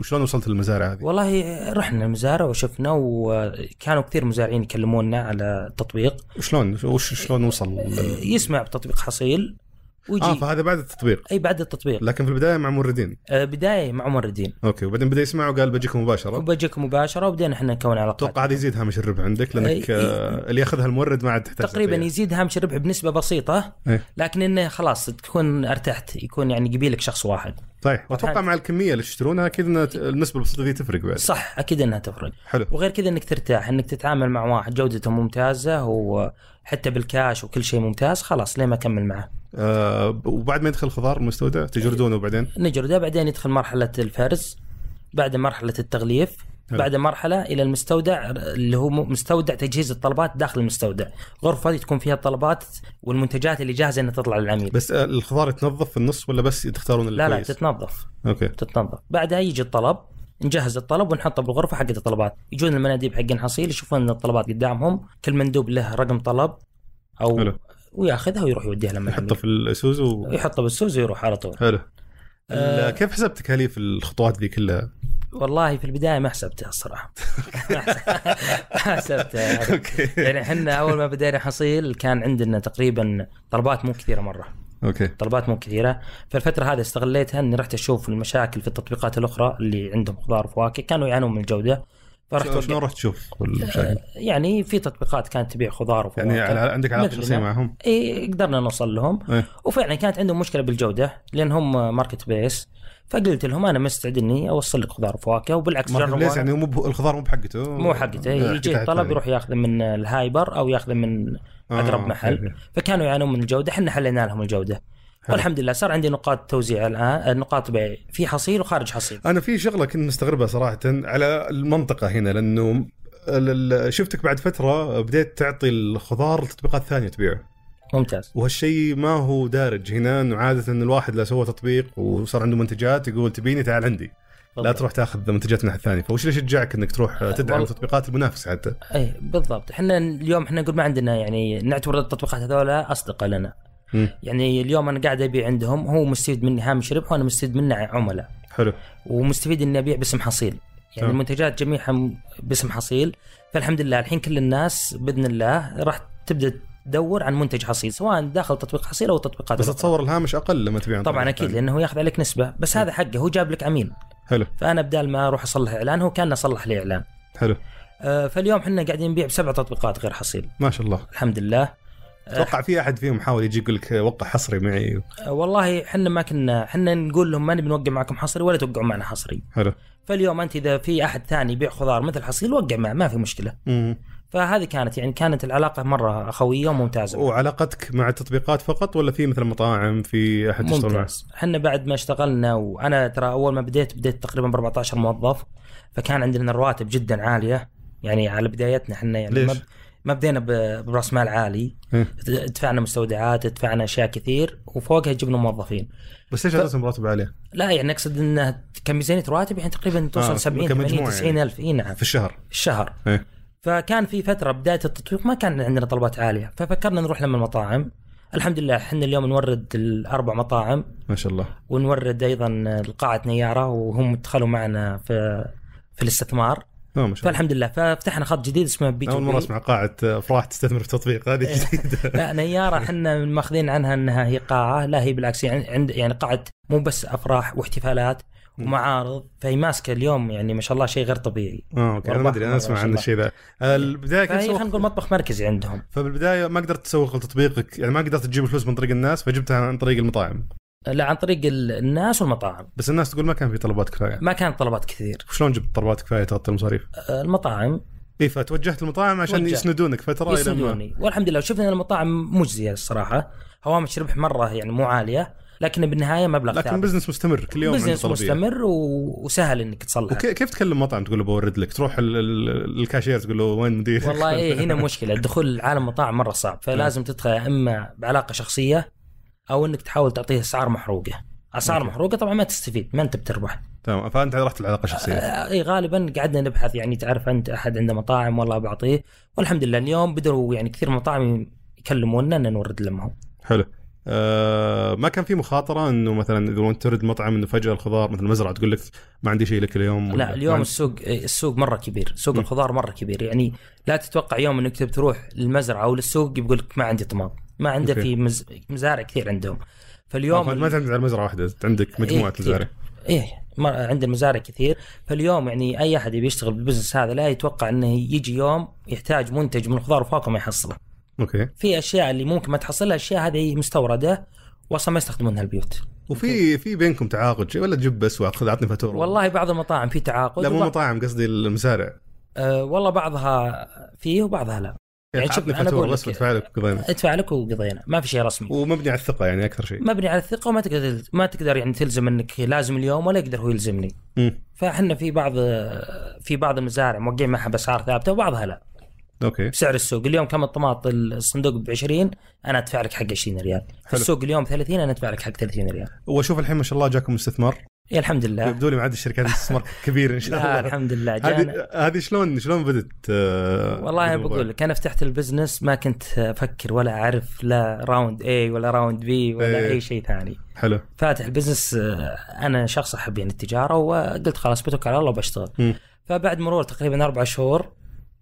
[SPEAKER 2] وشلون وصلت للمزارع هذه؟
[SPEAKER 3] والله رحنا المزارع وشفنا وكانوا كثير مزارعين يكلمونا على التطبيق
[SPEAKER 2] وشلون وش شلون وصل؟ لل-
[SPEAKER 3] يسمع بتطبيق حصيل ويجي
[SPEAKER 2] اه فهذا بعد التطبيق
[SPEAKER 3] اي بعد التطبيق
[SPEAKER 2] لكن في البدايه مع موردين
[SPEAKER 3] آه، بدايه مع موردين
[SPEAKER 2] اوكي وبعدين بدا يسمع وقال بجيك مباشره
[SPEAKER 3] وبجيك مباشره وبدينا احنا نكون علاقات
[SPEAKER 2] اتوقع هذا يزيد هامش الربح عندك لانك
[SPEAKER 3] إيه.
[SPEAKER 2] آه، اللي ياخذها المورد ما عاد تحتاج
[SPEAKER 3] تقريبا
[SPEAKER 2] تبيع.
[SPEAKER 3] يزيد هامش الربح بنسبه بسيطه
[SPEAKER 2] إيه.
[SPEAKER 3] لكن انه خلاص تكون ارتحت يكون يعني قبيلك شخص واحد
[SPEAKER 2] صحيح
[SPEAKER 3] طيب.
[SPEAKER 2] واتوقع طيب، مع الكميه اللي تشترونها اكيد ان النسبه البسيطه دي تفرق بعد
[SPEAKER 3] صح اكيد انها تفرق
[SPEAKER 2] حلو
[SPEAKER 3] وغير كذا انك ترتاح انك تتعامل مع واحد جودته ممتازه وحتى بالكاش وكل شيء ممتاز خلاص ليه ما اكمل معه
[SPEAKER 2] آه وبعد ما يدخل الخضار المستودع تجردونه بعدين
[SPEAKER 3] نجرده بعدين يدخل مرحله الفرز بعد مرحله التغليف
[SPEAKER 1] حلو.
[SPEAKER 3] بعد مرحله الى المستودع اللي هو م- مستودع تجهيز الطلبات داخل المستودع غرفه تكون فيها الطلبات والمنتجات اللي جاهزه انها تطلع للعميل
[SPEAKER 2] بس آه، الخضار يتنظف في النص ولا بس تختارون
[SPEAKER 3] لا لا
[SPEAKER 2] الكويس؟
[SPEAKER 3] تتنظف
[SPEAKER 2] اوكي
[SPEAKER 3] تتنظف بعدها يجي الطلب نجهز الطلب ونحطه بالغرفه حقت الطلبات يجون المناديب حقين حصيل يشوفون ان الطلبات قدامهم كل مندوب له رقم طلب او
[SPEAKER 2] حلو.
[SPEAKER 3] وياخذها ويروح يوديها لما
[SPEAKER 2] يحطه في الاسوز و...
[SPEAKER 3] يحطه بالسوز ويروح على طول
[SPEAKER 2] حلو
[SPEAKER 3] آه.
[SPEAKER 2] آه. كيف حسبت تكاليف الخطوات ذي كلها؟
[SPEAKER 3] والله في البدايه ما حسبتها الصراحه ما حسبتها
[SPEAKER 2] اوكي
[SPEAKER 3] يعني احنا اول ما بدينا حصيل كان عندنا تقريبا طلبات مو كثيره مره
[SPEAKER 2] اوكي
[SPEAKER 3] طلبات مو كثيره فالفتره هذه استغليتها اني رحت اشوف المشاكل في التطبيقات الاخرى اللي عندهم خضار وفواكه كانوا يعانون من الجوده فرحت
[SPEAKER 2] شلون- شلون
[SPEAKER 3] وقت-
[SPEAKER 2] رحت تشوف المشاكل؟
[SPEAKER 3] يعني في تطبيقات كانت تبيع خضار وفواكه
[SPEAKER 2] يعني على- عندك علاقه
[SPEAKER 3] مثلنا.
[SPEAKER 2] شخصيه معهم؟
[SPEAKER 3] اي قدرنا نوصل لهم
[SPEAKER 2] إيه.
[SPEAKER 3] وفعلا كانت عندهم مشكله بالجوده لان هم ماركت بيس فقلت لهم انا مستعد اني اوصل لك خضار وفواكه وبالعكس
[SPEAKER 2] ماركت
[SPEAKER 3] جربوا
[SPEAKER 2] بليس يعني مو بهو- الخضار مو بحقته
[SPEAKER 3] مو حقته
[SPEAKER 2] آه،
[SPEAKER 3] يجي
[SPEAKER 2] حقته
[SPEAKER 3] الطلب
[SPEAKER 2] الثاني.
[SPEAKER 3] يروح ياخذه من الهايبر او ياخذه من
[SPEAKER 2] آه،
[SPEAKER 3] اقرب
[SPEAKER 2] أوكي.
[SPEAKER 3] محل فكانوا يعانون من الجوده احنا حلينا لهم الجوده
[SPEAKER 2] حلو.
[SPEAKER 3] والحمد لله صار عندي نقاط توزيع الان آه، نقاط بيع في حصيل وخارج حصيل
[SPEAKER 2] انا في شغله كنت مستغربها صراحه على المنطقه هنا لانه ال- ال- شفتك بعد فتره بديت تعطي الخضار لتطبيقات ثانيه تبيعه
[SPEAKER 3] ممتاز
[SPEAKER 2] وهالشيء ما هو دارج هنا انه عاده ان الواحد لو سوى تطبيق وصار عنده منتجات يقول تبيني تعال عندي لا
[SPEAKER 3] بالضبط.
[SPEAKER 2] تروح تاخذ منتجات من احد ثاني فوش اللي شجعك انك تروح تدعم
[SPEAKER 3] أه، والله-
[SPEAKER 2] تطبيقات المنافسه حتى
[SPEAKER 3] اي إيه، بالضبط احنا اليوم احنا نقول ما عندنا يعني نعتبر التطبيقات هذولا اصدقاء لنا
[SPEAKER 2] مم.
[SPEAKER 3] يعني اليوم انا قاعد ابيع عندهم هو مستفيد مني هامش ربح وانا مستفيد منه عملاء
[SPEAKER 2] حلو
[SPEAKER 3] ومستفيد اني ابيع باسم حصيل يعني
[SPEAKER 2] آه.
[SPEAKER 3] المنتجات جميعها م- باسم حصيل فالحمد لله الحين كل الناس باذن الله راح تبدا تدور عن منتج حصيل سواء داخل تطبيق حصيل او تطبيقات
[SPEAKER 2] بس
[SPEAKER 3] أخرى.
[SPEAKER 2] اتصور الهامش اقل لما تبيع عن نعم.
[SPEAKER 3] طبعا
[SPEAKER 2] طريق
[SPEAKER 3] اكيد
[SPEAKER 2] ثاني.
[SPEAKER 3] لانه ياخذ عليك نسبه بس هذا حقه هو جاب لك عميل
[SPEAKER 2] حلو
[SPEAKER 3] فانا بدال ما اروح اصلح اعلان هو كان اصلح لي اعلان
[SPEAKER 2] حلو
[SPEAKER 3] آه، فاليوم احنا قاعدين نبيع بسبع تطبيقات غير حصيل
[SPEAKER 2] ما شاء الله
[SPEAKER 3] الحمد لله أه.
[SPEAKER 2] اتوقع في احد فيهم حاول يجي يقول لك وقع حصري معي
[SPEAKER 3] آه، والله احنا ما كنا احنا نقول لهم ما نبي نوقع معكم حصري ولا توقعوا معنا حصري
[SPEAKER 2] حلو
[SPEAKER 3] فاليوم انت اذا في احد ثاني يبيع خضار مثل حصيل وقع معه ما في مشكله
[SPEAKER 2] مم.
[SPEAKER 3] فهذه كانت يعني كانت العلاقه مره اخويه وممتازه
[SPEAKER 2] وعلاقتك مع التطبيقات فقط ولا في مثل مطاعم في احد تشتغل معه؟
[SPEAKER 3] ممتاز احنا بعد ما اشتغلنا وانا ترى اول ما بديت بديت تقريبا ب 14 موظف فكان عندنا الرواتب جدا عاليه يعني على بدايتنا احنا يعني
[SPEAKER 2] ليش؟
[SPEAKER 3] ما ب- ما بدينا ب- براس مال عالي
[SPEAKER 2] إيه.
[SPEAKER 3] دفعنا مستودعات دفعنا اشياء كثير وفوقها جبنا موظفين
[SPEAKER 2] بس ليش اساسا مرتب عليه؟
[SPEAKER 3] لا يعني اقصد انه كان ميزانيه رواتب يعني تقريبا توصل
[SPEAKER 2] آه،
[SPEAKER 3] 70
[SPEAKER 2] كمجموع يعني.
[SPEAKER 3] 80 90 الف اي نعم
[SPEAKER 2] في الشهر
[SPEAKER 3] في الشهر
[SPEAKER 2] إيه.
[SPEAKER 3] فكان في فتره بدايه التطبيق ما كان عندنا طلبات عاليه ففكرنا نروح لما المطاعم الحمد لله احنا اليوم نورد الاربع مطاعم
[SPEAKER 2] ما شاء الله
[SPEAKER 3] ونورد ايضا القاعة نياره وهم دخلوا معنا في في الاستثمار
[SPEAKER 2] اه ما شاء الله
[SPEAKER 3] فالحمد لله ففتحنا خط جديد اسمه بي تو
[SPEAKER 2] اول مره
[SPEAKER 3] بي.
[SPEAKER 2] اسمع قاعه افراح أه، تستثمر في تطبيق هذه
[SPEAKER 3] إيه.
[SPEAKER 2] جديده
[SPEAKER 3] لا نيارة احنا ماخذين عنها انها هي قاعة لا هي بالعكس يعني عند يعني قاعة مو بس افراح واحتفالات ومعارض فهي ماسكة اليوم يعني ما شاء الله شيء غير طبيعي
[SPEAKER 2] اه اوكي انا ما ادري انا اسمع عن الشيء ذا البدايه كنت
[SPEAKER 3] إيه. فهي خلينا نقول
[SPEAKER 2] سوق...
[SPEAKER 3] مطبخ مركزي عندهم
[SPEAKER 2] فبالبدايه ما قدرت تسوق لتطبيقك يعني ما قدرت تجيب الفلوس من طريق الناس فجبتها عن طريق المطاعم
[SPEAKER 3] لا عن طريق ال- الناس والمطاعم
[SPEAKER 2] بس الناس تقول ما كان في طلبات كفايه
[SPEAKER 3] ما كانت طلبات كثير
[SPEAKER 2] شلون جبت طلبات كفايه تغطي المصاريف؟
[SPEAKER 3] المطاعم
[SPEAKER 2] اي فتوجهت المطاعم عشان
[SPEAKER 3] توجهت.
[SPEAKER 2] يسندونك فتره الى ما
[SPEAKER 3] يسندوني والحمد لله وشفنا ان المطاعم مجزيه الصراحه هوامش ربح مره يعني مو عاليه لكن بالنهايه مبلغ
[SPEAKER 2] لكن
[SPEAKER 3] ثابت
[SPEAKER 2] بزنس مستمر كل يوم
[SPEAKER 3] بزنس
[SPEAKER 2] عنده طلبية.
[SPEAKER 3] مستمر و... وسهل انك تصلحه
[SPEAKER 2] وكيف كيف تكلم مطعم تقول له بورد لك تروح ال- ال- الكاشير تقول له وين مدير
[SPEAKER 3] والله إيه هنا مشكله الدخول لعالم مطاعم مره صعب فلازم
[SPEAKER 2] نعم.
[SPEAKER 3] تدخل اما بعلاقه شخصيه او انك تحاول تعطيه اسعار محروقه اسعار
[SPEAKER 2] أوكي.
[SPEAKER 3] محروقه طبعا ما تستفيد ما انت بتربح
[SPEAKER 2] تمام فانت رحت العلاقه الشخصيه
[SPEAKER 3] آه، اي غالبا قعدنا نبحث يعني تعرف انت احد عنده مطاعم والله بعطيه والحمد لله اليوم بدروا يعني كثير مطاعم يكلمونا ان نورد لهم
[SPEAKER 2] حلو آه ما كان في مخاطره انه مثلا اذا انت ترد مطعم انه فجاه الخضار مثل المزرعه تقول لك ما عندي شيء لك اليوم ولا
[SPEAKER 3] لا
[SPEAKER 2] ما
[SPEAKER 3] اليوم
[SPEAKER 2] عندي-
[SPEAKER 3] السوق إيه، السوق مره كبير سوق
[SPEAKER 2] مم.
[SPEAKER 3] الخضار مره كبير يعني لا تتوقع يوم انك تبي تروح للمزرعه او للسوق يقول لك ما عندي طماط ما عنده
[SPEAKER 2] أوكي.
[SPEAKER 3] في مز... مزارع كثير عندهم
[SPEAKER 2] آه،
[SPEAKER 3] فاليوم
[SPEAKER 2] ما تعتمد على مزرعه واحده أنت عندك مجموعه
[SPEAKER 3] إيه،
[SPEAKER 2] مزارع
[SPEAKER 3] ايه ما- عند المزارع كثير فاليوم يعني اي احد يبي يشتغل بالبزنس هذا لا يتوقع انه يجي يوم يحتاج منتج من الخضار والفواكه ما يحصله
[SPEAKER 2] اوكي
[SPEAKER 3] في اشياء اللي ممكن ما تحصلها اشياء هذه مستورده واصلا ما يستخدمونها البيوت
[SPEAKER 2] وفي في بينكم تعاقد شيء ولا تجيب بس واخذ عطني فاتوره
[SPEAKER 3] والله بعض المطاعم في تعاقد
[SPEAKER 2] لا مو
[SPEAKER 3] وبع-
[SPEAKER 2] إيه، مطاعم قصدي المزارع
[SPEAKER 3] آه والله بعضها فيه وبعضها لا
[SPEAKER 2] يعني
[SPEAKER 3] شوف،
[SPEAKER 2] عطني
[SPEAKER 3] أنا
[SPEAKER 2] فتوى
[SPEAKER 3] أقول لك-
[SPEAKER 2] بس ادفع لك قضينا
[SPEAKER 3] ادفع لك وقضينا ما في شيء رسمي
[SPEAKER 2] ومبني على الثقه يعني اكثر شيء
[SPEAKER 3] مبني على الثقه وما تقدر ما تقدر يعني تلزم انك لازم اليوم ولا يقدر هو يلزمني
[SPEAKER 2] مم.
[SPEAKER 3] فاحنا في بعض في بعض المزارع موقعين معها باسعار ثابته وبعضها لا
[SPEAKER 2] اوكي
[SPEAKER 3] بسعر السوق اليوم كم الطماط الصندوق ب 20 انا ادفع لك حق 20 ريال
[SPEAKER 2] حلو.
[SPEAKER 3] السوق اليوم 30 انا ادفع لك حق 30 ريال
[SPEAKER 2] واشوف الحين ما شاء الله جاكم استثمار
[SPEAKER 3] إيه الحمد لله
[SPEAKER 2] يبدو لي معاد الشركات استثمار كبير ان شاء
[SPEAKER 3] لا
[SPEAKER 2] الله
[SPEAKER 3] الحمد لله جانا
[SPEAKER 2] هذه هذه شلون شلون بدت آه،
[SPEAKER 3] والله انا
[SPEAKER 2] بالموضوع؟
[SPEAKER 3] بقول لك انا فتحت البزنس ما كنت افكر ولا اعرف لا راوند اي ولا راوند بي ولا
[SPEAKER 2] إيه.
[SPEAKER 3] اي شيء ثاني
[SPEAKER 2] حلو
[SPEAKER 3] فاتح البزنس آه، انا شخص احب يعني التجاره وقلت خلاص بتوكل على الله وبشتغل
[SPEAKER 2] مم.
[SPEAKER 3] فبعد مرور تقريبا اربع شهور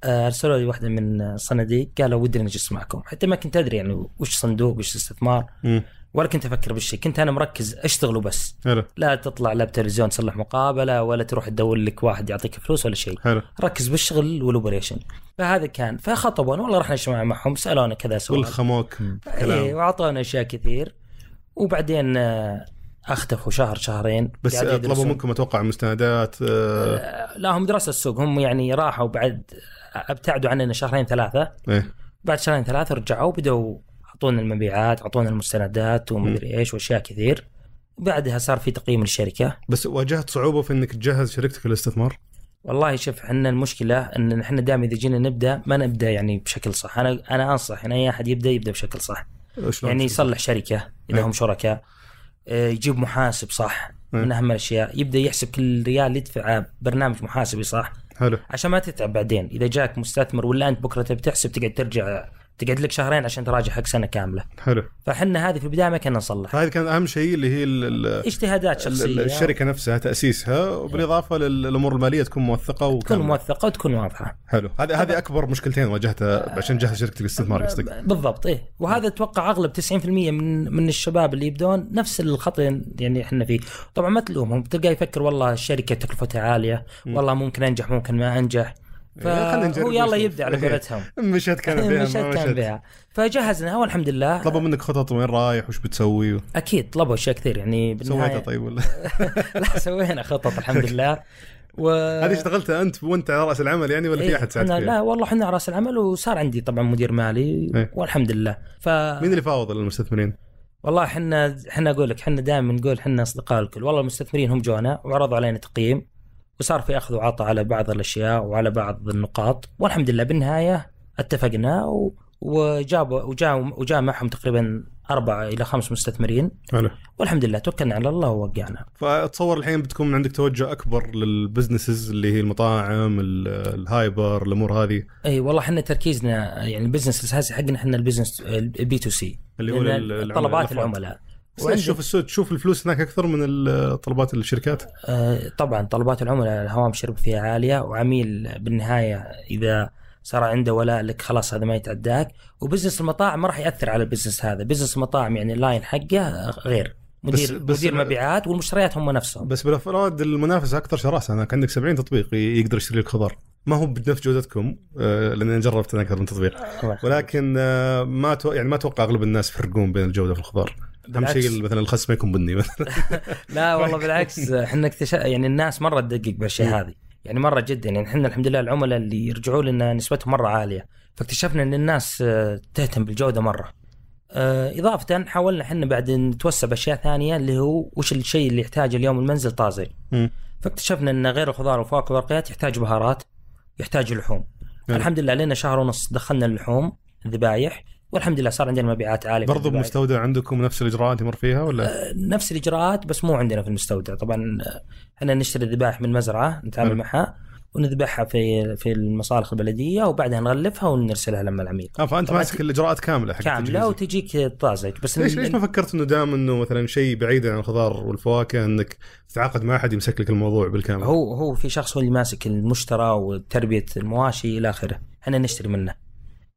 [SPEAKER 3] آه، ارسلوا لي واحده من الصناديق قالوا ودنا نجلس معكم حتى ما كنت ادري يعني وش صندوق وش استثمار
[SPEAKER 2] مم.
[SPEAKER 3] ولا كنت افكر بالشيء كنت انا مركز اشتغل وبس
[SPEAKER 2] حلو
[SPEAKER 3] لا تطلع لا بتلفزيون تصلح مقابله ولا تروح تدور لك واحد يعطيك فلوس ولا شيء
[SPEAKER 2] حلو
[SPEAKER 3] ركز بالشغل والاوبريشن فهذا كان فخطبونا والله رحنا اجتماع معهم سالونا كذا سؤال
[SPEAKER 2] والخموك
[SPEAKER 3] اي
[SPEAKER 2] كلام
[SPEAKER 3] واعطونا اشياء إيه، كثير وبعدين آه، اختفوا شهر شهرين
[SPEAKER 2] بس
[SPEAKER 3] قاعد
[SPEAKER 2] آه، طلبوا
[SPEAKER 3] يدرسون.
[SPEAKER 2] منكم اتوقع مستندات آه،
[SPEAKER 3] لا هم دراسه السوق هم يعني راحوا بعد ابتعدوا عننا شهرين ثلاثه
[SPEAKER 2] ايه
[SPEAKER 3] بعد شهرين ثلاثه رجعوا بدأوا اعطونا المبيعات اعطونا المستندات ومدري ايش واشياء كثير بعدها صار في تقييم للشركه
[SPEAKER 2] بس واجهت صعوبه في انك تجهز شركتك للاستثمار
[SPEAKER 3] والله شوف احنا المشكله ان احنا دائما اذا جينا نبدا ما نبدا يعني بشكل صح انا انا انصح ان اي احد يبدا يبدا بشكل صح
[SPEAKER 2] آه، شلون
[SPEAKER 3] يعني
[SPEAKER 2] تجهز؟
[SPEAKER 3] يصلح شركه اذا
[SPEAKER 2] إيه.
[SPEAKER 3] هم شركاء آه، يجيب محاسب صح
[SPEAKER 2] إيه.
[SPEAKER 3] من اهم الاشياء يبدا يحسب كل ريال يدفعه برنامج محاسبي صح
[SPEAKER 2] حلو
[SPEAKER 3] عشان ما تتعب بعدين اذا جاك مستثمر ولا انت بكره تبي تحسب تقعد ترجع تقعد لك شهرين عشان تراجع حق سنه كامله
[SPEAKER 2] حلو
[SPEAKER 3] فحنا هذه في البدايه ما كنا نصلح
[SPEAKER 2] فهذه كان اهم شيء اللي هي ال- ال-
[SPEAKER 3] اجتهادات
[SPEAKER 2] ال-
[SPEAKER 3] شخصيه
[SPEAKER 2] الشركه نفسها تاسيسها وبالاضافه للامور الماليه تكون موثقه
[SPEAKER 3] تكون
[SPEAKER 2] وكاملة.
[SPEAKER 3] موثقه وتكون واضحه
[SPEAKER 2] حلو هذه هذه اكبر مشكلتين واجهتها عشان جهز شركتك للاستثمار قصدك
[SPEAKER 3] بالضبط ايه وهذا اتوقع اغلب 90% من من الشباب اللي يبدون نفس الخطا يعني احنا فيه طبعا ما تلومهم تلقاه يفكر والله الشركه تكلفتها عاليه والله ممكن انجح ممكن ما انجح
[SPEAKER 2] إيه، خلينا نجرب
[SPEAKER 3] فهو يلا
[SPEAKER 2] ونشوف.
[SPEAKER 3] يبدا على
[SPEAKER 2] إيه.
[SPEAKER 3] قولتهم
[SPEAKER 2] مشت كان فيها
[SPEAKER 3] مشت كان بها فجهزناها والحمد لله
[SPEAKER 2] طلبوا منك خطط وين رايح وش بتسوي و-
[SPEAKER 3] اكيد طلبوا اشياء كثير يعني
[SPEAKER 2] سويتها
[SPEAKER 3] بالنهايه
[SPEAKER 2] طيب ولا
[SPEAKER 3] لا سوينا خطط الحمد لله و
[SPEAKER 2] هذه اشتغلتها انت وانت على راس العمل يعني ولا في
[SPEAKER 3] إيه،
[SPEAKER 2] احد ساعدك
[SPEAKER 3] أنا
[SPEAKER 2] فيها؟
[SPEAKER 3] لا والله احنا راس العمل وصار عندي طبعا مدير مالي
[SPEAKER 2] إيه.
[SPEAKER 3] والحمد لله ف
[SPEAKER 2] مين اللي فاوض المستثمرين؟
[SPEAKER 3] والله احنا احنا اقول لك احنا دائما نقول احنا اصدقاء الكل، والله المستثمرين هم جونا وعرضوا علينا تقييم وصار في اخذ وعطاء على بعض الاشياء وعلى بعض النقاط والحمد لله بالنهايه اتفقنا و... وجابوا وجاء وجاء معهم تقريبا اربعه الى خمس مستثمرين
[SPEAKER 2] حلو
[SPEAKER 3] والحمد لله توكلنا على الله ووقعنا.
[SPEAKER 2] فاتصور الحين بتكون عندك توجه اكبر للبزنسز اللي هي المطاعم ال- الهايبر الامور هذه
[SPEAKER 3] اي والله احنا تركيزنا يعني البزنس الاساسي حقنا احنا البزنس البي تو سي
[SPEAKER 2] اللي هو لل- العملاء،
[SPEAKER 3] طلبات
[SPEAKER 2] الأفراد.
[SPEAKER 3] العملاء.
[SPEAKER 2] بس تشوف السوق تشوف الفلوس هناك اكثر من ال- طلبات الشركات
[SPEAKER 3] آه، طبعا طلبات العملاء الهوام شرب فيها عاليه وعميل بالنهايه اذا صار عنده ولاء لك خلاص هذا ما يتعداك وبزنس المطاعم ما راح ياثر على البزنس هذا بزنس المطاعم يعني اللاين حقه غير مدير
[SPEAKER 2] بس- بس-
[SPEAKER 3] مدير مبيعات والمشتريات هم نفسهم
[SPEAKER 2] بس بالافراد المنافسه اكثر شراسه هناك عندك 70 تطبيق ي- يقدر يشتري لك خضار ما هو بنفس جودتكم آه، لان أنا جربت انا اكثر من تطبيق
[SPEAKER 3] الله يخليك.
[SPEAKER 2] ولكن آه، ما تو... يعني ما اتوقع اغلب الناس يفرقون بين الجوده في الخضار اهم
[SPEAKER 3] بالعكس.
[SPEAKER 2] شيء مثلا الخس ما يكون بني مثلا
[SPEAKER 3] لا والله بالعكس احنا اكتشف يعني الناس مره تدقق
[SPEAKER 2] إيه.
[SPEAKER 3] بالاشياء هذه يعني مره جدا يعني احنا الحمد لله العملاء اللي يرجعوا لنا نسبتهم مره عاليه فاكتشفنا ان الناس آه، تهتم بالجوده مره آه، اضافه حاولنا احنا بعد نتوسع باشياء ثانيه اللي هو وش الشيء اللي يحتاجه اليوم المنزل طازج
[SPEAKER 2] مم.
[SPEAKER 3] فاكتشفنا ان غير الخضار والفواكه والورقيات يحتاج بهارات يحتاج لحوم
[SPEAKER 2] حلو.
[SPEAKER 3] الحمد لله لنا شهر ونص دخلنا اللحوم الذبايح والحمد لله صار عندنا مبيعات عاليه في
[SPEAKER 2] برضو
[SPEAKER 3] الذبايح.
[SPEAKER 2] بمستودع عندكم نفس الاجراءات يمر فيها
[SPEAKER 3] آه،
[SPEAKER 2] ولا
[SPEAKER 3] نفس الاجراءات بس مو عندنا في المستودع طبعا آه، احنا نشتري الذبائح من المزرعه نتعامل
[SPEAKER 2] حلو.
[SPEAKER 3] معها ونذبحها في في المصالح البلديه وبعدها نغلفها ونرسلها لما العميل
[SPEAKER 2] آه فانت
[SPEAKER 3] طبعاً
[SPEAKER 2] ماسك الاجراءات كامله حق
[SPEAKER 3] كامله
[SPEAKER 2] التجهيز.
[SPEAKER 3] وتجيك طازج بس
[SPEAKER 2] ليش
[SPEAKER 3] ال-
[SPEAKER 2] ليش ما فكرت انه دام انه مثلا شيء بعيد عن الخضار والفواكه انك تتعاقد مع احد يمسك لك الموضوع بالكامل
[SPEAKER 3] هو هو في شخص هو اللي ماسك المشترى وتربيه المواشي الى اخره احنا نشتري منه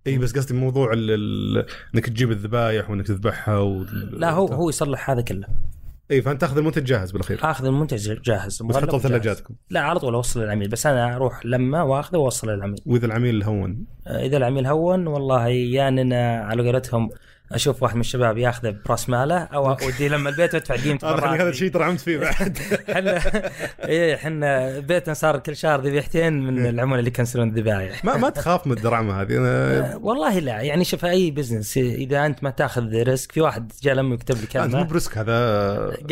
[SPEAKER 2] اي إيه، بس قصدي موضوع ال... ال... انك تجيب الذبايح وانك تذبحها و...
[SPEAKER 3] لا هو هو يصلح هذا كله
[SPEAKER 2] اي فانت تاخذ المنتج جاهز بالاخير
[SPEAKER 3] اخذ المنتج جاهز
[SPEAKER 2] بس
[SPEAKER 3] مغلف
[SPEAKER 2] حطه
[SPEAKER 3] وجاهز.
[SPEAKER 2] ثلاجاتكم
[SPEAKER 3] لا على طول اوصل للعميل بس انا اروح لما واخذه واوصله للعميل
[SPEAKER 2] واذا العميل هون
[SPEAKER 3] اذا العميل هون والله يا اننا يعني على قولتهم اشوف واحد من الشباب ياخذه براس ماله او اوديه لما البيت وادفع قيمته
[SPEAKER 2] هذا
[SPEAKER 3] مرة
[SPEAKER 2] هذا
[SPEAKER 3] واحدة.
[SPEAKER 2] الشيء درعمت فيه بعد
[SPEAKER 3] احنا ايه احنا بيتنا صار كل شهر ذبيحتين
[SPEAKER 2] إيه.
[SPEAKER 3] من العملاء اللي يكنسلون الذبايح
[SPEAKER 2] ما ما تخاف من الدرعمه هذه انا
[SPEAKER 3] والله لا يعني شوف اي بزنس اذا انت ما تاخذ ريسك في واحد جاء لما يكتب لي
[SPEAKER 2] انت مو إيه.
[SPEAKER 3] كلمه
[SPEAKER 2] برسك هذا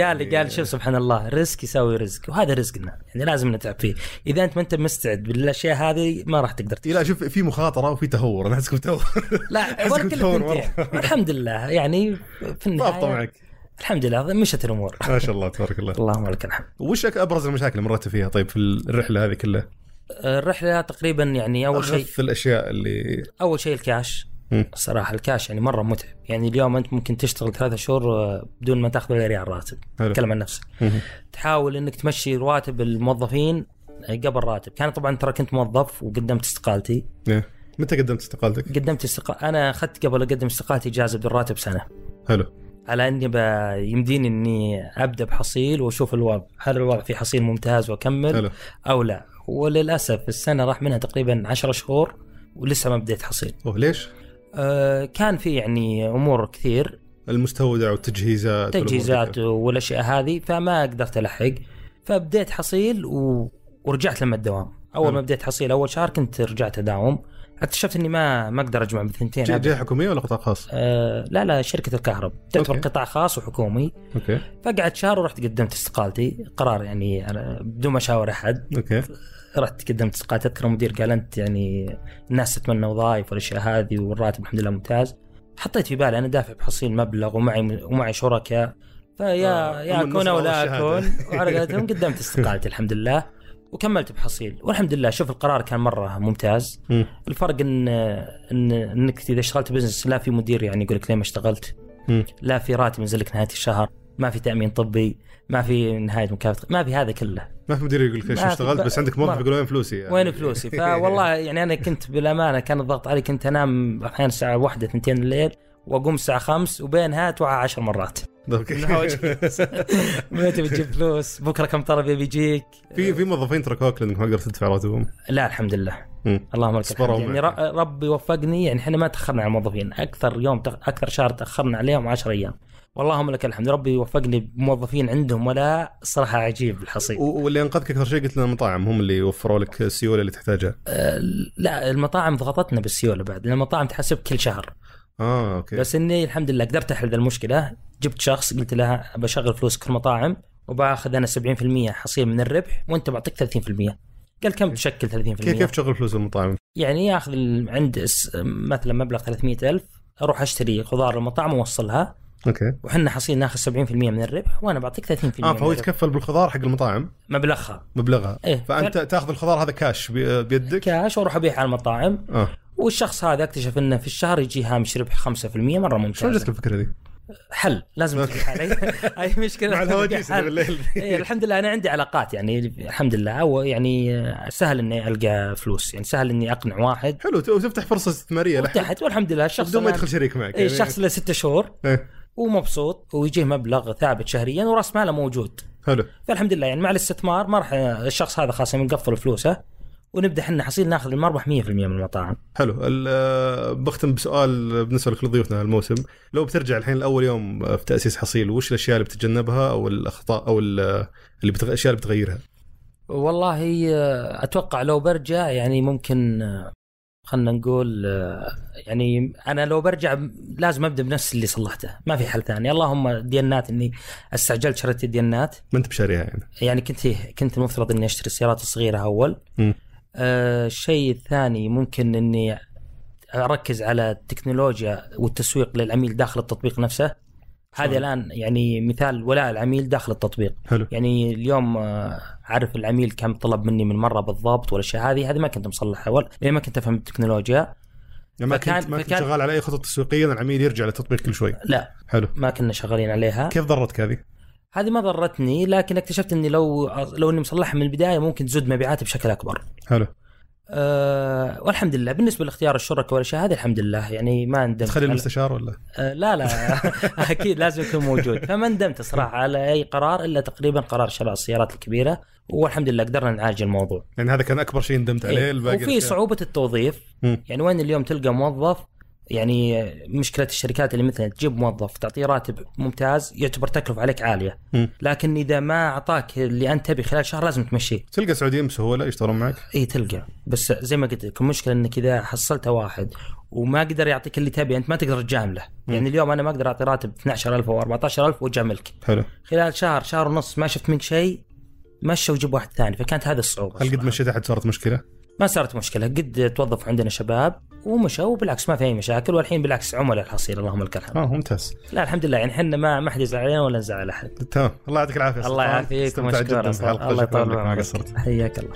[SPEAKER 3] قال لي قال شوف سبحان الله رزق يساوي رزق وهذا رزقنا يعني لازم نتعب فيه اذا انت ما انت مستعد بالاشياء هذه ما راح تقدر
[SPEAKER 2] إيه، لا شوف في مخاطره وفي تهور انا احسكم تهور
[SPEAKER 3] لا
[SPEAKER 2] أحسك
[SPEAKER 3] ولا كل
[SPEAKER 2] بتهور
[SPEAKER 3] الثنتين. الحمد لله يعني في
[SPEAKER 2] ضابطه
[SPEAKER 3] النهايه
[SPEAKER 2] معك
[SPEAKER 3] الحمد لله مشت الامور
[SPEAKER 2] ما شاء الله تبارك الله
[SPEAKER 3] اللهم لك الحمد
[SPEAKER 2] وش أك- ابرز المشاكل اللي مريت فيها طيب في الرحله هذه كلها؟
[SPEAKER 3] الرحله تقريبا يعني اول شيء
[SPEAKER 2] اغث الاشياء اللي
[SPEAKER 3] اول شيء الكاش
[SPEAKER 2] مم.
[SPEAKER 3] صراحه الكاش يعني مره متعب يعني اليوم انت ممكن تشتغل ثلاثة شهور آه، بدون ما تاخذ ولا ريال راتب
[SPEAKER 2] حلو.
[SPEAKER 3] اتكلم عن نفسي
[SPEAKER 2] مهم.
[SPEAKER 3] تحاول انك تمشي رواتب الموظفين آه، قبل راتب كان طبعا ترى كنت موظف وقدمت استقالتي
[SPEAKER 2] إيه. متى قدمت استقالتك؟
[SPEAKER 3] قدمت استقال انا اخذت قبل اقدم استقالتي اجازه بدون راتب سنه
[SPEAKER 2] حلو
[SPEAKER 3] على اني ب... يمديني اني ابدا بحصيل واشوف الوضع هل الوضع في حصيل ممتاز واكمل
[SPEAKER 2] حلو
[SPEAKER 3] او لا وللاسف السنه راح منها تقريبا 10 شهور ولسه ما بديت حصيل
[SPEAKER 2] اوه ليش؟
[SPEAKER 3] أه كان في يعني امور كثير
[SPEAKER 2] المستودع والتجهيزات
[SPEAKER 3] تجهيزات
[SPEAKER 2] والأمور
[SPEAKER 3] والاشياء هذه فما قدرت الحق فبديت حصيل و... ورجعت لما الدوام اول
[SPEAKER 2] حلو.
[SPEAKER 3] ما بديت حصيل اول شهر كنت رجعت اداوم اكتشفت اني ما ما اقدر اجمع بالثنتين
[SPEAKER 2] كذا. جهه
[SPEAKER 3] أبداً.
[SPEAKER 2] جهة حكوميه ولا قطاع خاص؟
[SPEAKER 3] أه لا لا شركه الكهرب تعتبر
[SPEAKER 2] أوكي.
[SPEAKER 3] قطاع خاص وحكومي
[SPEAKER 2] اوكي
[SPEAKER 3] فقعدت شهر ورحت قدمت استقالتي قرار يعني أنا بدون ما اشاور احد
[SPEAKER 2] اوكي
[SPEAKER 3] رحت قدمت استقالتي اذكر المدير قال انت يعني الناس تتمنى وظائف والاشياء هذه والراتب الحمد لله ممتاز حطيت في بالي انا دافع بحصيل مبلغ ومعي ومعي شركاء فيا
[SPEAKER 2] آه،
[SPEAKER 3] يا
[SPEAKER 2] أما
[SPEAKER 3] اكون او
[SPEAKER 2] النصر
[SPEAKER 3] لا
[SPEAKER 2] والشهادة.
[SPEAKER 3] اكون وعلى قولتهم قدمت استقالتي الحمد لله وكملت بحصيل والحمد لله شوف القرار كان مره ممتاز
[SPEAKER 2] مم.
[SPEAKER 3] الفرق ان ان انك اذا اشتغلت بزنس لا في مدير يعني يقول لك ليه ما اشتغلت
[SPEAKER 2] مم.
[SPEAKER 3] لا في راتب ينزل لك نهايه الشهر ما في تامين طبي ما في نهايه مكافاه ما في هذا كله
[SPEAKER 2] ما في مدير يقول لك ايش
[SPEAKER 3] ما في-
[SPEAKER 2] اشتغلت بس عندك موظف
[SPEAKER 3] ما-
[SPEAKER 2] يقول وين فلوسي يعني.
[SPEAKER 3] وين فلوسي فوالله يعني انا كنت بالامانه كان الضغط علي كنت انام احيانا الساعه واحدة اثنتين الليل واقوم الساعه خمس وبينها اتوعى عشر مرات
[SPEAKER 2] اوكي
[SPEAKER 3] من هواجي. متى بتجيب فلوس بكره كم طلب بيجيك
[SPEAKER 2] في في موظفين تركوك لانك ما قدرت تدفع راتبهم
[SPEAKER 3] لا الحمد لله
[SPEAKER 2] مم.
[SPEAKER 3] اللهم لك
[SPEAKER 2] صبروا
[SPEAKER 3] الحمد يعني
[SPEAKER 2] معك.
[SPEAKER 3] ر- ربي وفقني يعني احنا ما تاخرنا على الموظفين اكثر يوم تأخ... اكثر شهر تاخرنا عليهم 10 ايام واللهم لك الحمد ربي وفقني بموظفين عندهم ولا صراحه عجيب الحصيل
[SPEAKER 2] و- واللي انقذك اكثر شيء قلت لنا المطاعم هم اللي وفروا لك السيوله اللي تحتاجها
[SPEAKER 3] أه، لا المطاعم ضغطتنا بالسيوله بعد لأن المطاعم تحسب كل شهر
[SPEAKER 2] اه اوكي
[SPEAKER 3] بس اني الحمد لله قدرت احل ذا المشكله جبت شخص قلت له بشغل فلوسك في المطاعم وباخذ انا 70% حصيل من الربح وانت بعطيك 30% قال كم تشكل 30%
[SPEAKER 2] إيه. كيف كيف تشغل فلوس المطاعم؟
[SPEAKER 3] يعني ياخذ ال- عند اس- مثلا مبلغ 300 ألف اروح اشتري خضار المطعم واوصلها
[SPEAKER 2] اوكي
[SPEAKER 3] وحنا حصيل ناخذ 70% من الربح وانا بعطيك 30%
[SPEAKER 2] اه
[SPEAKER 3] من
[SPEAKER 2] آه، فهو
[SPEAKER 3] الربح.
[SPEAKER 2] يتكفل بالخضار حق المطاعم
[SPEAKER 3] مبلغها
[SPEAKER 2] مبلغها
[SPEAKER 3] إيه.
[SPEAKER 2] فانت تاخذ الخضار هذا كاش بي- بيدك
[SPEAKER 3] كاش واروح ابيعها على المطاعم
[SPEAKER 2] اه
[SPEAKER 3] والشخص هذا اكتشف انه في الشهر يجي هامش ربح 5% مره
[SPEAKER 2] شلون
[SPEAKER 3] ممتاز
[SPEAKER 2] جتك الفكره ذي؟
[SPEAKER 3] حل لازم تفتح علي اي مشكله
[SPEAKER 2] مع الهواجيس اللي
[SPEAKER 3] حل.
[SPEAKER 2] بالليل
[SPEAKER 3] إيه الحمد لله انا عندي علاقات يعني الحمد لله ويعني آه، سهل اني القى فلوس يعني سهل اني اقنع واحد
[SPEAKER 2] حلو ت- وتفتح فرصه استثماريه لحد
[SPEAKER 3] تحت والحمد لله الشخص
[SPEAKER 2] بدون ما
[SPEAKER 3] الآن-
[SPEAKER 2] يدخل شريك معك يعني.
[SPEAKER 3] إيه الشخص له ستة شهور
[SPEAKER 2] إيه.
[SPEAKER 3] ومبسوط ويجيه مبلغ ثابت شهريا وراس ماله موجود
[SPEAKER 2] حلو
[SPEAKER 3] فالحمد لله يعني مع الاستثمار ما راح الشخص هذا خلاص نقفل فلوسه ونبدا احنا حصيل ناخذ المربح 100% من المطاعم
[SPEAKER 2] حلو ال- آه، بختم بسؤال بالنسبه لك لضيوفنا هالموسم لو بترجع الحين لاول يوم آه، في تاسيس حصيل وش الاشياء اللي بتتجنبها او الاخطاء او ال- آه، اللي بتغ... الاشياء اللي بتغيرها
[SPEAKER 3] والله آه، اتوقع لو برجع يعني ممكن آه، خلنا نقول آه، يعني انا لو برجع لازم ابدا بنفس اللي صلحته ما في حل ثاني اللهم دينات اني استعجلت شريت الدينات
[SPEAKER 2] ما انت بشاريها يعني
[SPEAKER 3] يعني كنت كنت المفترض اني اشتري السيارات الصغيره اول
[SPEAKER 2] مم.
[SPEAKER 3] آه، الشيء الثاني ممكن اني اركز على التكنولوجيا والتسويق للعميل داخل التطبيق نفسه هذا الان يعني مثال ولاء العميل داخل التطبيق
[SPEAKER 2] حلو
[SPEAKER 3] يعني اليوم آه، عارف العميل كم طلب مني من مره بالضبط والاشياء هذه هذه ما كنت مصلحها اول لان ما كنت افهم التكنولوجيا
[SPEAKER 2] يعني ما
[SPEAKER 3] فكان-
[SPEAKER 2] كنت ما كنت
[SPEAKER 3] فكان-
[SPEAKER 2] شغال على اي خطط تسويقيه إن العميل يرجع للتطبيق كل شوي
[SPEAKER 3] لا
[SPEAKER 2] حلو
[SPEAKER 3] ما كنا شغالين عليها
[SPEAKER 2] كيف ضرتك هذه؟
[SPEAKER 3] هذه ما ضرتني لكن اكتشفت اني لو لو اني مصلحها من البدايه ممكن تزود مبيعاتي بشكل اكبر
[SPEAKER 2] حلو
[SPEAKER 3] أه والحمد لله بالنسبه لاختيار الشركاء والاشياء هذه الحمد لله يعني ما ندمت
[SPEAKER 2] تخلي
[SPEAKER 3] على-
[SPEAKER 2] المستشار ولا؟
[SPEAKER 3] أه لا لا اكيد لازم يكون موجود فما ندمت صراحه على اي قرار الا تقريبا قرار شراء السيارات الكبيره والحمد لله قدرنا نعالج الموضوع
[SPEAKER 2] يعني هذا كان اكبر شيء ندمت عليه
[SPEAKER 3] إيه.
[SPEAKER 2] الباقي
[SPEAKER 3] وفي
[SPEAKER 2] الأشياء.
[SPEAKER 3] صعوبه التوظيف
[SPEAKER 2] مم.
[SPEAKER 3] يعني وين اليوم تلقى موظف يعني مشكله الشركات اللي مثلا تجيب موظف تعطيه راتب ممتاز يعتبر تكلفه عليك عاليه
[SPEAKER 1] مم.
[SPEAKER 3] لكن اذا ما اعطاك اللي انت تبي خلال شهر لازم تمشيه
[SPEAKER 2] تلقى سعوديين بسهوله يشتغلون معك
[SPEAKER 3] اي تلقى بس زي ما قلت لك المشكله انك اذا حصلت واحد وما قدر يعطيك اللي تبي انت ما تقدر تجامله يعني اليوم انا ما اقدر اعطي راتب 12000 او 14000 واجاملك
[SPEAKER 2] حلو
[SPEAKER 3] خلال شهر شهر ونص ما شفت منك شيء مشى وجيب واحد ثاني فكانت هذه الصعوبه
[SPEAKER 2] هل قد
[SPEAKER 3] صراحة.
[SPEAKER 2] مشيت احد صارت مشكله؟
[SPEAKER 3] ما صارت مشكله قد توظف عندنا شباب ومشوا وبالعكس ما في اي مشاكل والحين بالعكس عملاء الحصيل اللهم لك الحمد
[SPEAKER 2] اه ممتاز
[SPEAKER 3] لا الحمد لله يعني احنا ما ما حد يزعل علينا ولا نزعل احد
[SPEAKER 2] تمام الله يعطيك العافيه
[SPEAKER 3] الله
[SPEAKER 2] سلطان.
[SPEAKER 3] يعافيك
[SPEAKER 2] استمتعت جدا
[SPEAKER 3] ومشكور
[SPEAKER 2] في
[SPEAKER 3] أصلاً.
[SPEAKER 2] الحلقه
[SPEAKER 3] الله
[SPEAKER 2] شكراً
[SPEAKER 3] يطول
[SPEAKER 2] لك، ما
[SPEAKER 3] بعمرك
[SPEAKER 2] قصرت
[SPEAKER 3] حياك الله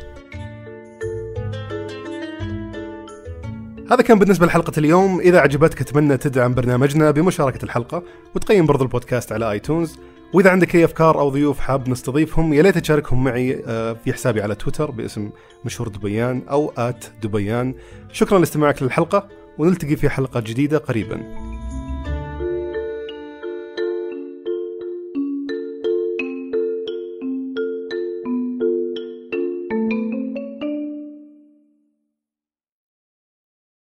[SPEAKER 2] هذا كان بالنسبة لحلقة اليوم إذا عجبتك أتمنى تدعم برنامجنا بمشاركة الحلقة وتقيم برضو البودكاست على آيتونز وإذا عندك أي أفكار أو ضيوف حاب نستضيفهم يا ليت تشاركهم معي آه، في حسابي على تويتر باسم مشهور دبيان أو آت دبيان شكرا لاستماعك للحلقة ونلتقي في حلقة جديدة قريباً